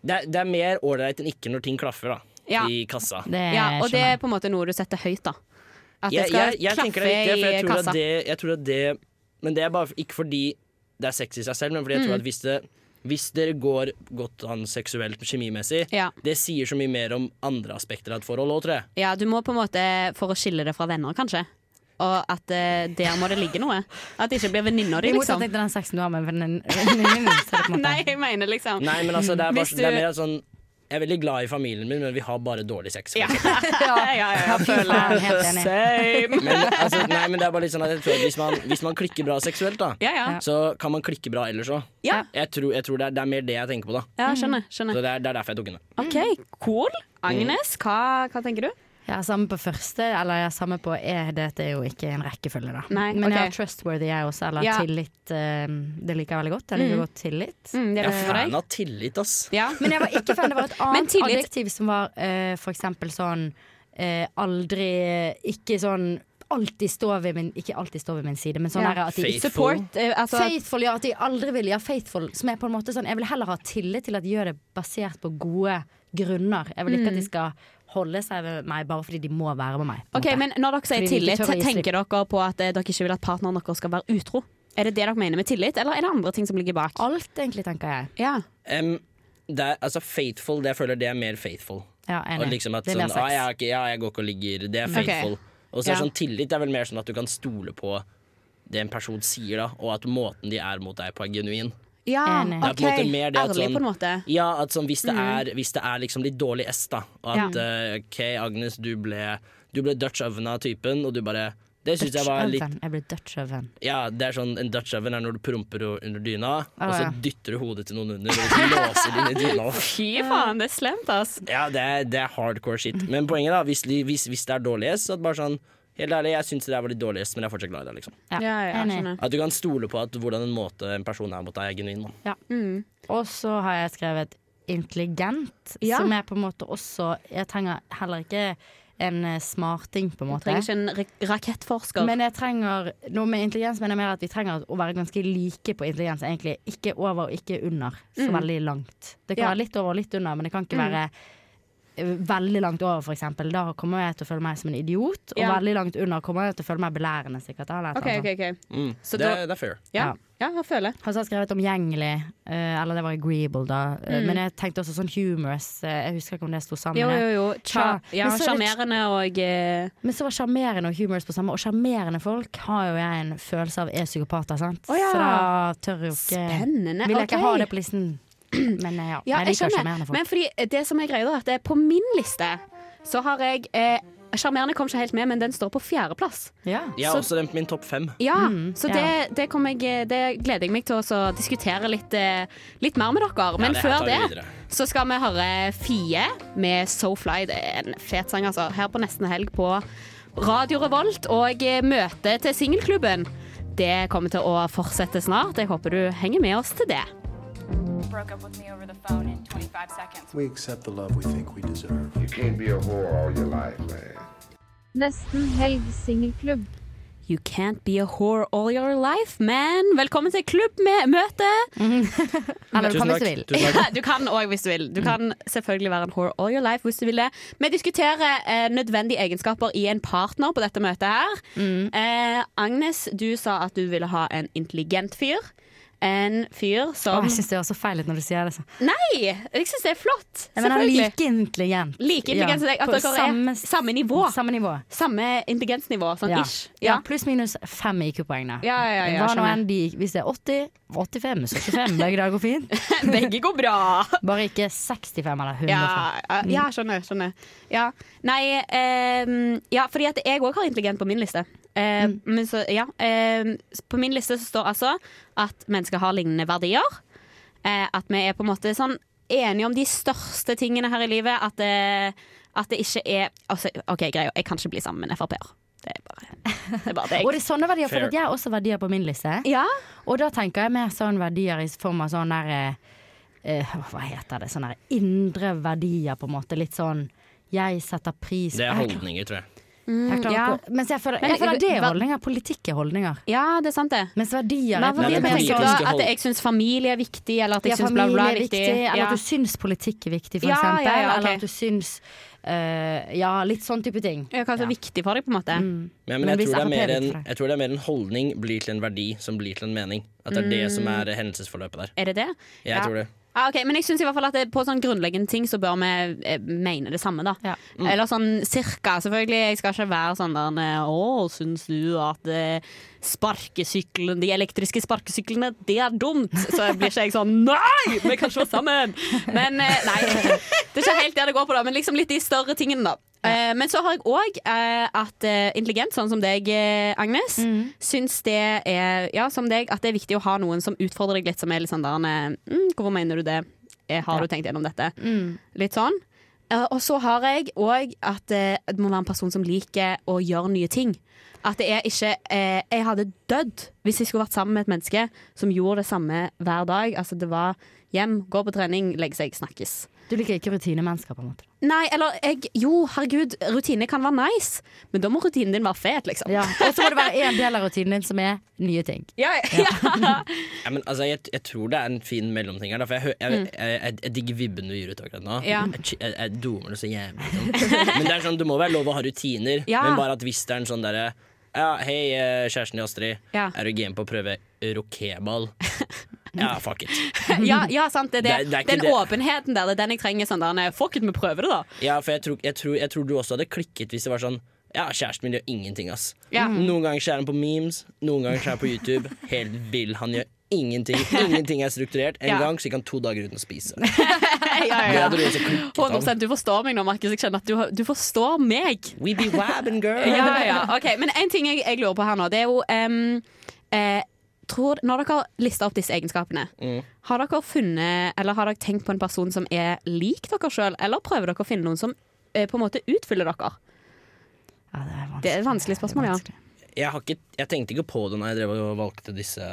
S2: det er, det er mer ålreit enn ikke når ting klaffer, da.
S7: Ja.
S2: I kassa.
S7: ja, og det er på en måte noe du setter høyt, da. At det
S2: Jeg-
S7: skal
S2: jeg- jeg tenker
S7: klaffe
S2: det er viktig, for jeg
S7: i
S2: tror at
S7: kassa.
S2: Det, jeg tror at det, men det er bare ikke fordi det er sex i seg selv, men fordi jeg tror
S7: Mm.
S2: at hvis det hvis dere går godt an seksuelt kjemimessig,
S7: Ja.
S2: det sier så mye mer om andre aspekter av et forhold òg, tror jeg.
S7: Ja, du må på en måte for å skille det fra venner, kanskje. Og at eh, der må det ligge noe. At det ikke blir venninna di,
S8: I
S7: liksom.
S8: motsetning til den sexen du har med venninnen din. så er det på en måte-
S7: Nei, jeg mener liksom
S2: Nei, men altså, det er, bare,
S7: Hvis
S2: det er
S7: du-
S2: mer sånn Jeg er veldig glad i familien min, men vi har bare dårlig sex. for
S7: *laughs* ja.
S2: eksempel.
S7: ja, ja, ja, jeg føler
S8: helt enig.
S7: Same.
S2: Men, altså, nei, men det er bare litt sånn at jeg tror at hvis man, hvis man klikker bra seksuelt, da,
S7: Ja, ja.
S2: så kan man klikke bra ellers òg.
S7: Ja.
S2: Jeg tror, jeg tror det, er, det er mer det jeg tenker på, da.
S7: Ja, skjønner, skjønner.
S2: Så det er, det er derfor jeg tok den.
S7: OK, cool. Agnes, hva, hva tenker du?
S8: Ja, samme på første, eller jeg er samme på E. er Dette er jo ikke en rekkefølge, da.
S7: Nei, ok.
S8: Men jeg har trustworthy, jeg også. Eller
S7: Ja.
S8: tillit. eh, det liker jeg veldig godt. Jeg liker
S7: Mm.
S8: godt tillit.
S7: Mm, det er
S2: Jeg
S7: bra
S2: er
S7: for deg.
S2: fan av tillit, ass.
S8: Men jeg var ikke fan. Det var
S7: *laughs*
S8: et
S7: Men
S8: annet
S7: tillit-
S8: adjektiv som var eh, for eksempel sånn eh, Aldri Ikke sånn Alltid stå ved min Ikke alltid stå ved min side, men sånn
S7: Ja.
S8: der at de
S2: Faithful.
S7: Support, eh, altså-
S8: Faithful, ja. At de aldri vil ja, faithful. Som er på en måte sånn Jeg vil heller ha tillit til at de gjør det basert på gode grunner. Jeg vil ikke at
S7: Mm.
S8: de skal holde seg ved meg bare fordi de må være med meg. på en
S7: Ok,
S8: måte.
S7: men Når dere sier
S8: Fordi de ikke
S7: tillit,
S8: tør å gi
S7: tenker
S8: slipp.
S7: dere på at eh, dere ikke vil at partneren deres skal være utro? Er det det dere mener med tillit, eller er det andre ting som ligger bak?
S8: Alt, egentlig, tenker jeg.
S7: Ja.
S2: Em, det er, altså faithful, det jeg føler det er mer faithful.
S8: Ja,
S2: Og liksom at sånn, ah, jeg, har ikke, ja, jeg går ikke og ligger Det er
S8: Mm.
S2: faithful.
S8: Ok.
S2: Og så er
S8: Ja.
S2: sånn tillit det er vel mer sånn at du kan stole på det en person sier, da, og at måten de er mot deg på, er genuin.
S7: Ja,
S2: Det er
S7: ok.
S2: på en måte mer det at
S7: Ærlig
S2: sånn-
S7: på en måte.
S2: Ja, at sånn, hvis, det
S7: Mm.
S2: er, hvis det er liksom litt dårlig S, da, og at
S7: Ja.
S2: eh, OK, Agnes, du ble, du ble Dutch oven av typen, og du bare Det syns jeg var
S8: Dutch
S2: litt
S8: oven. Jeg ble Dutch oven.
S2: ja, det er sånn, En Dutch oven er når du promper o- under dyna,
S8: Ah,
S2: og så
S8: ja.
S2: dytter du hodet til noen under, og så låser du inn i dyna.
S8: *laughs*
S7: Fy faen, det er slemt, ass.
S2: Ja, det er, det er hardcore shit. Men poenget, da, hvis, de- hvis, hvis det er dårlig S, så er det bare sånn Helt ærlig, jeg syns det der var litt dårlig S, men jeg er fortsatt glad i deg, liksom.
S8: Ja, enig.
S2: At du kan stole på at hvordan en måte en person er mot deg, er genuin. Da.
S8: Ja. Og så har jeg skrevet intelligent,
S7: Ja.
S8: som er på en måte også Jeg trenger heller ikke en eh, smarting, på en måte.
S7: Trenger ikke en ra- rakettforsker.
S8: Men jeg trenger noe med intelligens mener jeg mer at vi trenger å være ganske like på intelligens, egentlig. Ikke over og ikke under. Så
S7: Mm.
S8: veldig langt. Det kan
S7: Ja.
S8: være litt over og litt under, men det kan ikke
S7: Mm.
S8: være eh, veldig langt over, for eksempel. Da kommer jeg til å føle meg som en idiot, og
S7: Ja.
S8: veldig langt under kommer jeg til å føle meg belærende, sikkert. Eller et
S7: OK,
S8: eller
S7: OK.
S8: annet
S7: ok
S2: Mm.
S7: Så
S2: Det,
S7: da-
S2: er- det er fair.
S7: Ja, ja jeg føler
S8: Han har skrevet omgjengelig, eh, eller det var agreeable, da. Eh,
S7: Mm.
S8: Men jeg tenkte også sånn humorous. eh, Jeg husker ikke om det sto sammen.
S7: Jo, jo, jo. Tja,
S8: Tja.
S7: ja,
S8: Men så er det-
S7: Sjarmerende og eh,
S8: Men så var sjarmerende og humorous på samme, og sjarmerende folk har jo jeg en følelse av er psykopater, sant.
S7: Å ja.
S8: Så da tør jo ikke
S7: Spennende,
S8: Vil jeg
S7: ok.
S8: ikke ha det på listen, men eh, ja.
S7: Ja, jeg
S8: jeg liker
S7: skjønner.
S8: sjarmerende folk.
S7: Men fordi eh, det som er greia, er at det er på min liste så har jeg eh, Sjarmerende kom ikke helt med, men den står på fjerdeplass.
S8: Ja.
S2: Jeg har
S7: Så-
S2: også den på min topp fem.
S7: Ja,
S2: Mm,
S7: så
S2: ja.
S7: det, det, kommer jeg, det gleder jeg meg til å så diskutere litt, eh, litt mer med dere. Men
S2: det her
S7: før
S2: tar vi
S7: det
S2: videre.
S7: så skal vi høre Fie med So Fly. Det er en fet sang, altså. Her på Nesten Helg på Radio Revolt. Og eh, møte til singelklubben. Det kommer til å fortsette snart. Jeg håper du henger med oss til det.
S19: Broke up with me over the phone in 25 seconds.
S20: We accept the love we think we deserve.
S21: You can't be a whore all your life, man.
S5: Nesten helg singelklubb.
S7: You Can't Be A Whore All Your Life, men velkommen til klubbmøte!
S8: Eller du kan hvis du vil.
S7: Tusen takk. *laughs* du kan òg hvis du vil.
S8: Mm.
S7: Du kan selvfølgelig være en whore all your life hvis du vil det. Vi diskuterer eh, nødvendige egenskaper i en partner på dette møtet her.
S8: Mm.
S7: Eh, Agnes, du sa at du ville ha en intelligent fyr. En fyr som
S8: Å, jeg syns det er så feil ut når du sier det. Så.
S7: Nei! Jeg syns det er flott.
S8: Ja, men han er
S7: Selvfølgelig.
S8: like intelligent.
S7: Like intelligent som deg, at
S8: på
S7: dere er
S8: samme,
S7: samme nivå.
S8: Samme nivå.
S7: Samme intelligensnivå, sånn
S8: Ja.
S7: ish.
S8: Ja, pluss minus fem IQ-poeng, da.
S7: Ja, ja, ja,
S8: Hva nå
S7: skjønner.
S8: enn de Hvis det er 80, 85, 75, begge dager går
S7: *laughs*
S8: fint.
S7: Begge går bra.
S8: Bare ikke 65 eller 105.
S7: Ja, ja,
S8: Mm.
S7: ja, skjønner. skjønner. Ja. Nei, ehm, ja, fordi at jeg òg har intelligent på min liste. Eh,
S8: Mm.
S7: men så, ja, ehm, s- på min liste så står altså at mennesker har lignende verdier. Eh, at vi er på en måte sånn enige om de største tingene her i livet. At det, at det ikke er altså, OK, greia, jeg kan ikke bli sammen med en Frp-er. Det er bare det. Er bare det jeg-
S8: *laughs* Og det er sånne verdier, for
S7: Fair.
S8: at jeg har også verdier på min liste. Og da tenker jeg mer sånn verdier i form av sånn der eh, eh, Hva heter det? Sånne der indre verdier, på en måte. Litt sånn jeg setter pris *laughs*
S2: Det er
S8: Jeg-
S2: holdninger, tror jeg.
S8: jeg klarer
S7: ja.
S8: ikke å- Mens jeg føler,
S7: Men
S8: jeg føler det er
S7: hva-
S8: holdninger. Politikk er holdninger.
S7: Ja, det er sant, det.
S8: Mens verdier
S7: Hva
S8: er
S7: var det
S2: Men
S7: med
S2: politiske
S7: sånn
S2: hold.
S7: At jeg syns familie er viktig, eller at jeg
S8: Ja,
S7: syns bla,
S8: familie
S7: bla
S8: er viktig,
S7: Ja.
S8: eller at du syns politikk er viktig, for
S7: Ja, ja,
S8: eksempel.
S7: ja, ok.
S8: Eller at du syns eh, Ja, litt sånn type ting.
S7: Ja, hva som er viktig for deg, på en måte.
S2: Men, men,
S8: Men
S2: jeg,
S8: hvis
S2: tror det er
S8: Frp
S2: mer
S8: er
S2: en,
S8: viktig for deg.
S2: jeg tror det er mer en holdning blir til en verdi som blir til en mening. At det er det som
S7: Mm.
S2: er hendelsesforløpet der.
S7: Er det det?
S2: Jeg
S7: Ja.
S2: tror det.
S7: Ja, ok, Men jeg syns i hvert fall at det, på sånn grunnleggende ting så bør vi eh, mene det samme, da. Eller sånn cirka, selvfølgelig. Jeg skal ikke være sånn der eh, Å, syns du at eh, sparkesykkelen, de elektriske sparkesyklene, det er dumt? Så blir ikke jeg sånn Nei, vi kan ikke være sammen! Men eh, nei. Det er ikke helt der det går på, da. Men liksom litt de større tingene, da. Eh, Men så har jeg òg at eh, intelligent, sånn som deg, eh, Agnes, syns det er Ja, som deg, at det er viktig å ha noen som utfordrer deg litt, som er litt sånn der eh, mm, Hvorfor mener du det? Eh, Har du tenkt gjennom dette? Litt sånn. Eh, Og så har jeg òg at eh, det må være en person som liker å gjøre nye ting. At det er ikke eh, Jeg hadde dødd hvis jeg skulle vært sammen med et menneske som gjorde det samme hver dag. Altså det var hjem, gå på trening, legge seg, snakkes.
S8: Du liker ikke rutinemennesker, på en måte.
S7: Nei, eller jeg Jo, herregud, rutine kan være nice, men da må rutinen din være fet, liksom.
S8: Ja. Og så må det være en del av rutinen din som er nye ting.
S7: Ja, ja.
S2: Ja, men, altså, jeg, jeg tror det er en fin mellomting her. Da, for jeg, hø- jeg,
S7: Mm.
S2: jeg, jeg, jeg digger vibben du gir ut akkurat nå.
S7: Ja.
S2: Jeg, ch- jeg, jeg domer det så jævlig. Sånn. Men det er sånn, det må være lov å ha rutiner,
S7: Ja.
S2: men bare at hvis det er en sånn derre ja, Hei, eh, kjæresten til Astrid.
S7: Ja.
S2: Er du game på å prøve
S7: *laughs*
S2: rokéball? Ja, fuck it.
S7: ja, ja, sant. Det er
S2: Det er-
S7: det.
S2: det er ikke
S7: den
S2: det.
S7: åpenheten der, det er den jeg trenger. Sånn, der, nei, fuck it, vi prøver det, da.
S2: Ja, for jeg tror, jeg, tror, jeg tror du også hadde klikket hvis det var sånn Ja, kjæresten min gjør ingenting, ass. Mm.
S7: Ja.
S2: Noen ganger så er han på memes, noen ganger så er han på YouTube. Helt vill. Han gjør
S7: *laughs*
S2: ingenting. Ingenting er strukturert. En
S7: Ja.
S2: gang så gikk han to dager uten å spise.
S7: ja,
S2: Det hadde du også klikket om.
S7: 100 Du forstår meg nå, Markus. Jeg kjenner at du, du forstår meg.
S2: We be wabbing, girl.
S7: Ja, ja. *laughs* Ok, Men en ting jeg, jeg lurer på her nå, det er jo em, eh, tror, Når dere lister opp disse egenskapene,
S2: Mm.
S7: har dere funnet Eller har dere tenkt på en person som er lik dere sjøl, eller prøver dere å finne noen som eh, på en måte utfyller dere? det er et vanskelig spørsmål, ja.
S2: jeg, har ikke, jeg tenkte ikke på det når jeg drev og valgte disse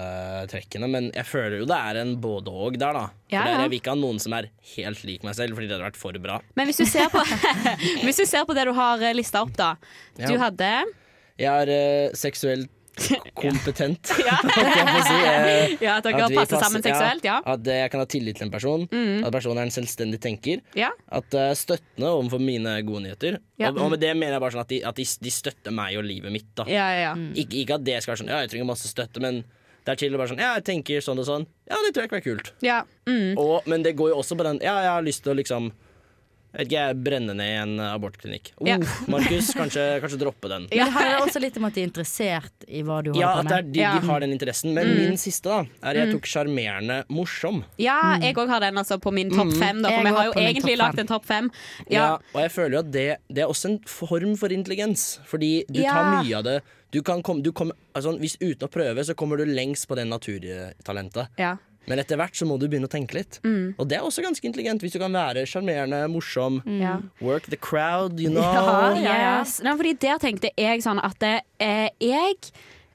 S2: trekkene, men jeg føler jo det er en både-og der, da. For
S7: Ja,
S2: det
S7: ja.
S2: er- Jeg vil ikke ha noen som er helt lik meg selv, fordi det hadde vært for bra.
S7: Men hvis du ser på, *laughs* hvis du ser på det du har eh, lista opp, da.
S2: Ja.
S7: Du hadde
S2: Jeg er eh,
S7: *laughs*
S2: seksuelt kompetent,
S7: Ja.
S2: *laughs* holdt jeg på
S7: *laughs*
S2: å si. Eh,
S7: Ja, at dere
S2: vi
S7: passer sammen seksuelt, ja.
S2: At eh, jeg kan ha tillit til en person,
S7: Mm.
S2: at personen er en selvstendig tenker.
S7: Ja.
S2: At jeg er støttende overfor mine gode nyheter.
S7: Ja.
S2: Og, og med det mener jeg bare sånn at de, at de, de støtter meg og livet mitt, da.
S7: Ja, ja, ja.
S11: Mm.
S2: Ikke, ikke at det skal være sånn Ja, jeg trenger masse støtte, men det er til og bare sånn Ja, jeg tenker sånn og sånn. Ja, det tror jeg kan være kult.
S7: ja. Mm.
S2: Og, men det går jo også på den Ja, jeg har lyst til å liksom jeg vet ikke, jeg brenne ned en eh, abortklinikk. Oh,
S7: Ja.
S2: Markus, kanskje, kanskje droppe den.
S8: Men det handler også litt om at de er interessert i hva du holder
S2: Ja,
S8: på
S2: at det er
S8: med.
S2: de, de har den interessen. Men
S7: Mm.
S2: min siste da er jeg
S7: Mm.
S2: tok sjarmerende morsom.
S7: *laughs* ja jeg òg har den altså, på min topp
S2: Mm.
S7: fem, da,
S8: Jeg
S7: for vi har
S8: går
S7: jo
S8: på min
S7: egentlig
S8: topp
S7: lagd
S8: fem.
S7: en topp fem.
S2: Ja,
S7: Ja.
S2: og jeg føler jo at det, det er også en form for intelligens. Fordi du tar
S7: Ja.
S2: mye av det. Du kan komme, du kommer- altså, hvis Uten å prøve, så kommer du lengst på det naturtalentet.
S7: Ja.
S2: Men etter hvert så må du begynne å tenke litt.
S7: Mm.
S2: Og det er også ganske intelligent, hvis du kan være sjarmerende, morsom.
S7: Ja.
S2: Work the crowd, you know.
S7: Mm. Ah, Ja, yes. Nei, fordi der tenkte jeg sånn at eh, jeg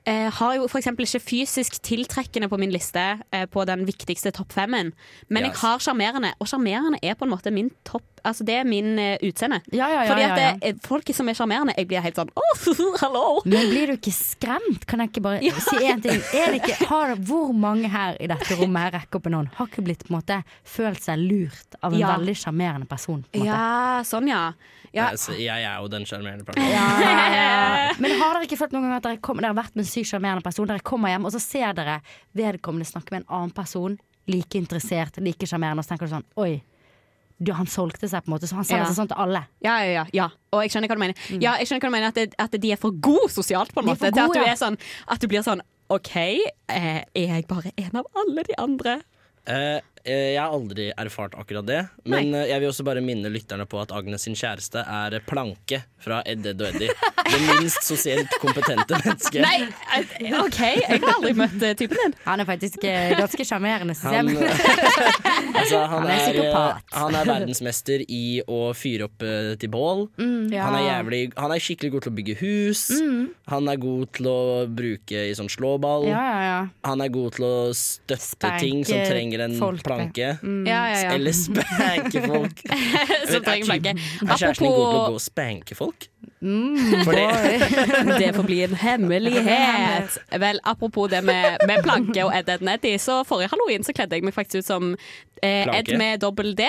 S7: eh, har jo for eksempel ikke fysisk tiltrekkende på min liste eh, på den viktigste topp femmen, men
S2: Yes.
S7: jeg har sjarmerende, og sjarmerende er på en måte min topp Altså, det er min eh, utseende.
S8: ja,
S7: Fordi at
S8: ja,
S7: det, er- folk som er sjarmerende, jeg blir helt sånn *laughs* Å, hallo!
S8: Men blir du ikke skremt? Kan jeg ikke bare
S7: Ja.
S8: si én ting? Er det ikke, har, hvor mange her i dette rommet her rekker opp en hånd? Har ikke blitt på en måte følt seg lurt av en
S7: Ja.
S8: veldig sjarmerende person? På en måte?
S7: Ja, sånn, ja. ja.
S11: Jeg,
S2: Altså,
S11: jeg er jo den sjarmerende personen.
S8: Men har dere ikke følt noen gang at dere, kom, dere har vært med en sykt sjarmerende person, dere kommer hjem, og så ser dere vedkommende snakke med en annen person, like interessert, like sjarmerende, og så tenker du sånn Oi, du, han solgte seg på en måte, så han selger
S7: Ja.
S8: seg sånn til alle.
S7: Ja, ja, ja, ja. Og jeg skjønner hva du mener. Ja, jeg skjønner hva du mener At, det, at de er for gode sosialt, på en
S8: Mm. De er for
S7: måte. Til at
S8: gode,
S7: du,
S8: ja.
S7: er sånn, at du blir sånn OK, eh, er jeg bare en av alle de andre?
S11: Eh, eh, jeg har aldri erfart akkurat det, men eh, jeg vil også bare minne lytterne på at Agnes sin kjæreste er Planke fra Ed, Edd og Eddi. Det minst sosialt kompetente
S8: *laughs*
S11: mennesket.
S7: Nei, eh, OK, jeg har aldri møtt eh, typen din.
S8: Han er faktisk *laughs* eh, ganske sjarmerende, syns
S11: Han,
S8: jeg.
S5: eh,
S11: Altså, han,
S8: Han er
S11: er,
S8: psykopat.
S11: eh, han er verdensmester i å fyre opp eh, til bål.
S8: Mm, ja.
S11: han, er jævlig, han er skikkelig god til å bygge hus.
S8: Mm.
S11: Han er god til å bruke i sånn slåball.
S8: Ja, ja, ja.
S11: Han er god til å støtte
S8: Spanke
S11: ting som trenger en
S8: folk, ja.
S11: planke.
S7: Mm. Ja, ja, ja. *laughs*
S11: Eller spanke
S8: *laughs*
S11: folk.
S7: Som trenger planke.
S11: Er kjæresten din god til å
S7: Apropos-
S11: gå og spanke folk?
S7: Mm,
S11: For det-
S7: boy. *laughs* det får bli en hemmelighet. Vel, apropos det med, med planke og Ed Ed Neddy, så forrige halloween så kledde jeg meg faktisk ut som eh, Ed
S11: Planke?
S7: med dobbel D.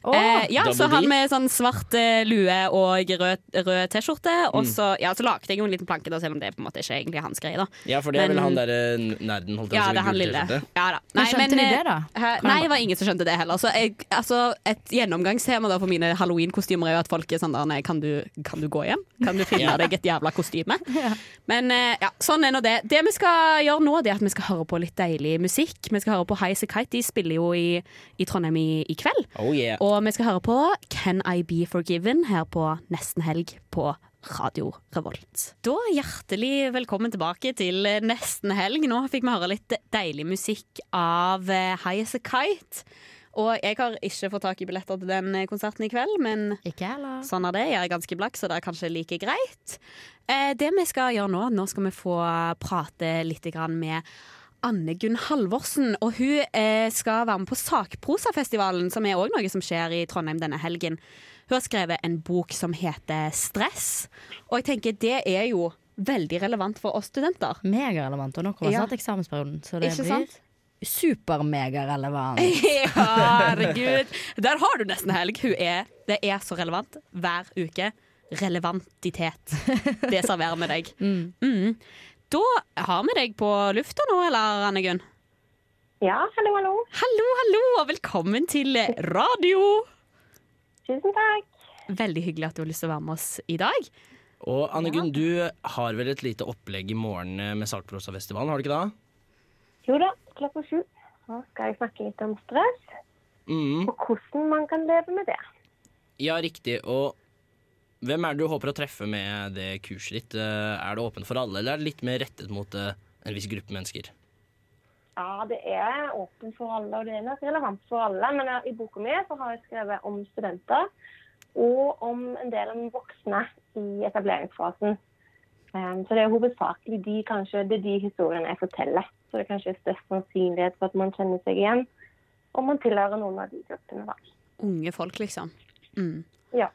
S8: Åh,
S7: eh, ja,
S11: double
S7: så
S11: D.
S7: han med sånn svart eh, lue og rød, rød T-skjorte.
S11: Mm.
S7: Og så, ja, så lagde jeg jo en liten planke, da, selv om det på en måte ikke er egentlig hans greie. da
S11: Ja, for det er
S7: Men-
S11: vel han derre nerden, holdt jeg på
S7: ja,
S11: å si,
S7: det er han
S11: gul
S7: lille.
S11: T-skjorte.
S7: Ja, da.
S8: Men skjønte de
S7: eh,
S8: det, da?
S7: hæ? Nei, det var ingen som skjønte det heller. Så jeg, altså, et gjennomgangstema da for mine halloween-kostymer er jo at folk er sånn der, nei, kan du, kan du gå hjem? Kan du finne
S11: Ja.
S7: deg et jævla kostyme?
S8: *laughs*
S7: Men eh, ja, sånn er nå det. Det vi skal gjøre nå, det er at vi skal høre på litt deilig musikk. Vi skal høre på Highas a Kite. De spiller jo i, i Trondheim i, i kveld.
S11: Oh yeah.
S7: Og vi skal høre på Can I Be Forgiven her på Nesten Helg på Radio Revolt. Da hjertelig velkommen tilbake til Nesten Helg. Nå fikk vi høre litt deilig musikk av eh, High As A Kite. Og jeg har ikke fått tak i billetter til den konserten i kveld, men
S8: Ikke heller.
S7: Sånn er det. Jeg er ganske blakk, så det er kanskje like greit. Eh, det vi skal gjøre nå, nå skal vi få prate litt grann med Anne Gunn Halvorsen. Og hun eh, skal være med på Sakprosafestivalen, som er òg noe som skjer i Trondheim denne helgen. Hun har skrevet en bok som heter 'Stress', og jeg tenker det er jo veldig relevant for oss studenter.
S8: Megarelevant. Og nå kommer
S7: Ja.
S8: snart eksamensperioden, så det
S7: Ikke
S8: blir
S7: sant?
S8: supermegarelevant.
S7: *laughs* Ja, herregud. Der har du nesten helg. Hun er, det er så relevant hver uke. Relevantitet. Det serverer vi deg. Mm. Da har vi deg på lufta nå, eller, Anne Gunn?
S20: Ja, hallo, hallo.
S7: Hallo, hallo, og velkommen til radio.
S20: Tusen takk.
S7: Veldig hyggelig at du har lyst til å være med oss i dag.
S11: Og Anne Gunn, du har vel et lite opplegg i morgen eh, med Sakprosafestivalen, har du ikke det?
S20: Jo da, klokka sju. Nå skal jeg snakke litt om stress,
S11: Mm.
S20: og hvordan man kan leve med det.
S11: Ja, riktig. Og hvem er det du håper å treffe med det kurset ditt? Eh, Er det åpent for alle, eller er det litt mer rettet mot eh, en viss gruppe mennesker?
S20: Ja, det er åpent for alle, og det er nok relevant for alle. Men jeg- i boka mi så har jeg skrevet om studenter, og om en del om voksne i etableringsfasen. Em, så det er hovedsakelig de, kanskje, det er de historiene jeg forteller. Så det er kanskje størst sannsynlighet for at man kjenner seg igjen, og man tilhører noen av de gruppene. da.
S7: Unge folk, liksom. Mm.
S20: Ja.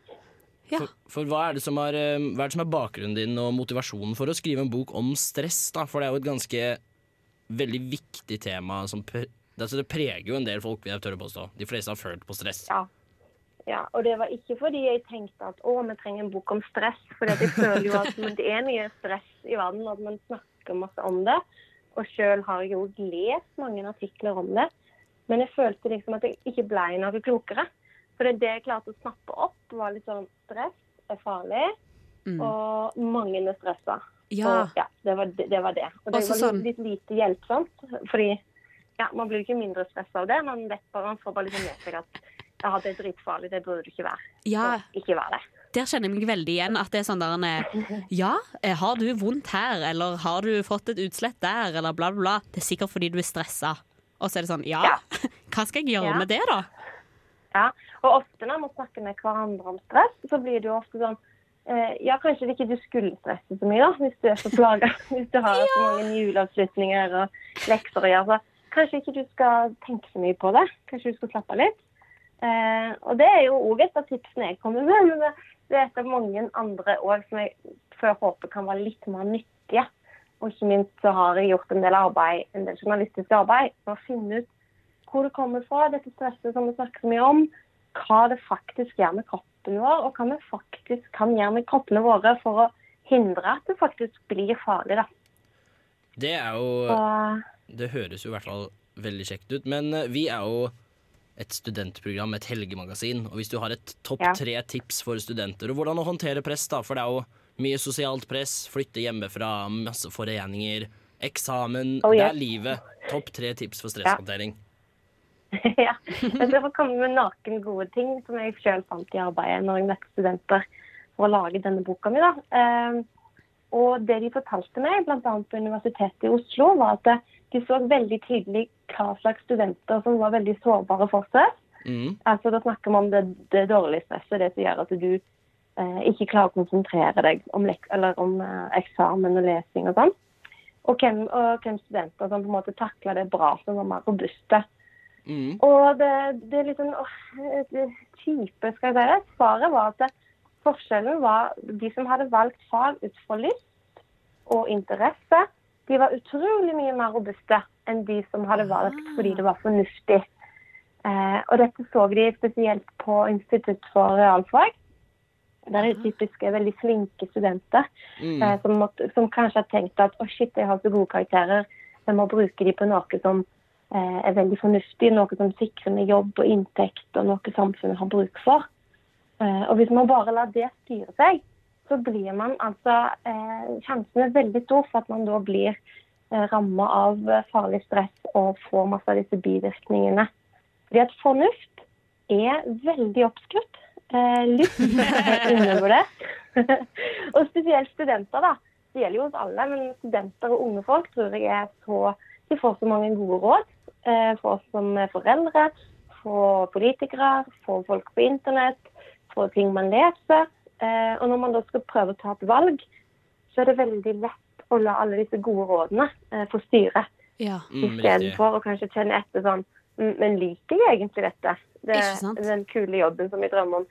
S11: For, for hva, er det som er, eh, hva er det som er bakgrunnen din og motivasjonen for å skrive en bok om stress? Da? For det er jo et ganske veldig viktig tema som pre altså, Det preger jo en del folk, vil jeg tørre å påstå. De fleste har følt på stress.
S20: Ja. Ja, og det var ikke fordi jeg tenkte at å, vi trenger en bok om stress. For jeg føler jo at men det er mye stress i verden, og at man snakker masse om det. Og sjøl har jeg jo lest mange artikler om det. Men jeg følte liksom at jeg ikke ble noe klokere. For det, er det jeg klarte å snappe opp, var litt sånn stress er farlig,
S7: Mm.
S20: og mange er stressa.
S7: Ja.
S20: Og, ja det, var, det var det. Og det
S7: Også
S20: var litt,
S7: sånn-
S20: litt lite hjelpsomt, fordi ja, man blir jo ikke mindre stressa av det. Man vet bare, man får bare liksom med seg at ja, det er dritfarlig, det burde du ikke være.
S7: Ja.
S20: Så Ikke være det.
S7: Der kjenner jeg meg veldig igjen. At det er sånn der en, eh, Ja, eh, har du vondt her, eller har du fått et utslett der, eller bla, bla, bla. Det er sikkert fordi du er stressa. Og så er det sånn, ja, *laughs* hva skal jeg gjøre
S20: Ja.
S7: med det, da?
S20: Ja, og ofte når man snakker med hverandre om stress, så blir det jo ofte sånn eh, Ja, kanskje det ikke du skulle stresse så mye, da, hvis du er så plaga. *laughs* Hvis du har så mange juleavslutninger og lekser å gjøre. Så kanskje ikke du skal tenke så mye på det. Kanskje du skal slappe av litt. Eh, og det er jo òg et av tipsene jeg kommer med, men det, det er et av mange andre òg som jeg før håper kan være litt mer nyttige. Og ikke minst så har jeg gjort en del arbeid, en del journalistisk arbeid for å finne ut hvor det kommer fra, dette stresset som vi snakker så mye om. Hva det faktisk gjør med kroppen vår, og hva vi faktisk kan gjøre med kroppene våre for å hindre at det faktisk blir farlig. da.
S11: Det er jo
S20: Så-
S11: Det høres jo i hvert fall veldig kjekt ut. Men eh, vi er jo et studentprogram, et helgemagasin. Og hvis du har et topp
S20: Ja.
S11: tre tips for studenter, og hvordan å håndtere press, da, for det er jo mye sosialt press, flytte hjemmefra, masse foreninger, eksamen
S20: Oh,
S11: Det
S20: yes.
S11: er livet. Topp tre tips for stresshåndtering.
S20: *laughs* ja. Jeg skal få komme med noen gode ting som jeg selv fant i arbeidet når jeg møtte studenter for å lage denne boka mi. Da. Eh, Og det de fortalte meg, bl.a. på Universitetet i Oslo, var at eh, de så veldig tydelig hva slags studenter som var veldig sårbare for stress.
S11: Mm.
S20: Altså, da snakker vi om det, det dårlige stresset, det som gjør at du eh, ikke klarer å konsentrere deg om, lek eller om eh, eksamen og lesing og sånn. Og hvem, og hvem studenter som på en måte takler det bra, som var mer robuste. Og det, det er litt sånn åh, det kjipe, skal jeg si det. Svaret var at det, forskjellen var de som hadde valgt fag ut fra lyst og interesse, de var utrolig mye mer robuste enn de som hadde valgt fordi det var fornuftig. Eh, og dette så de spesielt på Institutt for realfag. Der er det typisk veldig flinke studenter
S5: Mm.
S20: eh, som, måtte, som kanskje har tenkt at å shit, jeg har så gode karakterer, jeg må bruke de på noe som eh, er veldig fornuftig, noe som sikrer meg jobb og inntekt og noe samfunnet har bruk for. Eh, og hvis man bare lar det styre seg, så blir man altså eh, Sjansen er veldig stor for at man da blir eh, ramma av eh, farlig stress og får masse av disse bivirkningene. Fordi at fornuft er veldig oppskrutt. Eh, *laughs* lyst er undervurdert. *laughs* og spesielt studenter, da. Det gjelder jo oss alle, men studenter og unge folk tror jeg er så De får så mange gode råd. Eh, for oss som er foreldre, for politikere, for folk på internett, for ting man leser. Eh, og når man da skal prøve å ta et valg, så er det veldig lett å la alle disse gode rådene eh, få styre.
S7: Ja.
S11: mm,
S20: Istedenfor å kanskje kjenne etter sånn «Mm, Men liker jeg egentlig dette? Det,
S7: Ikke sant?
S20: den kule jobben som jeg drømmer om.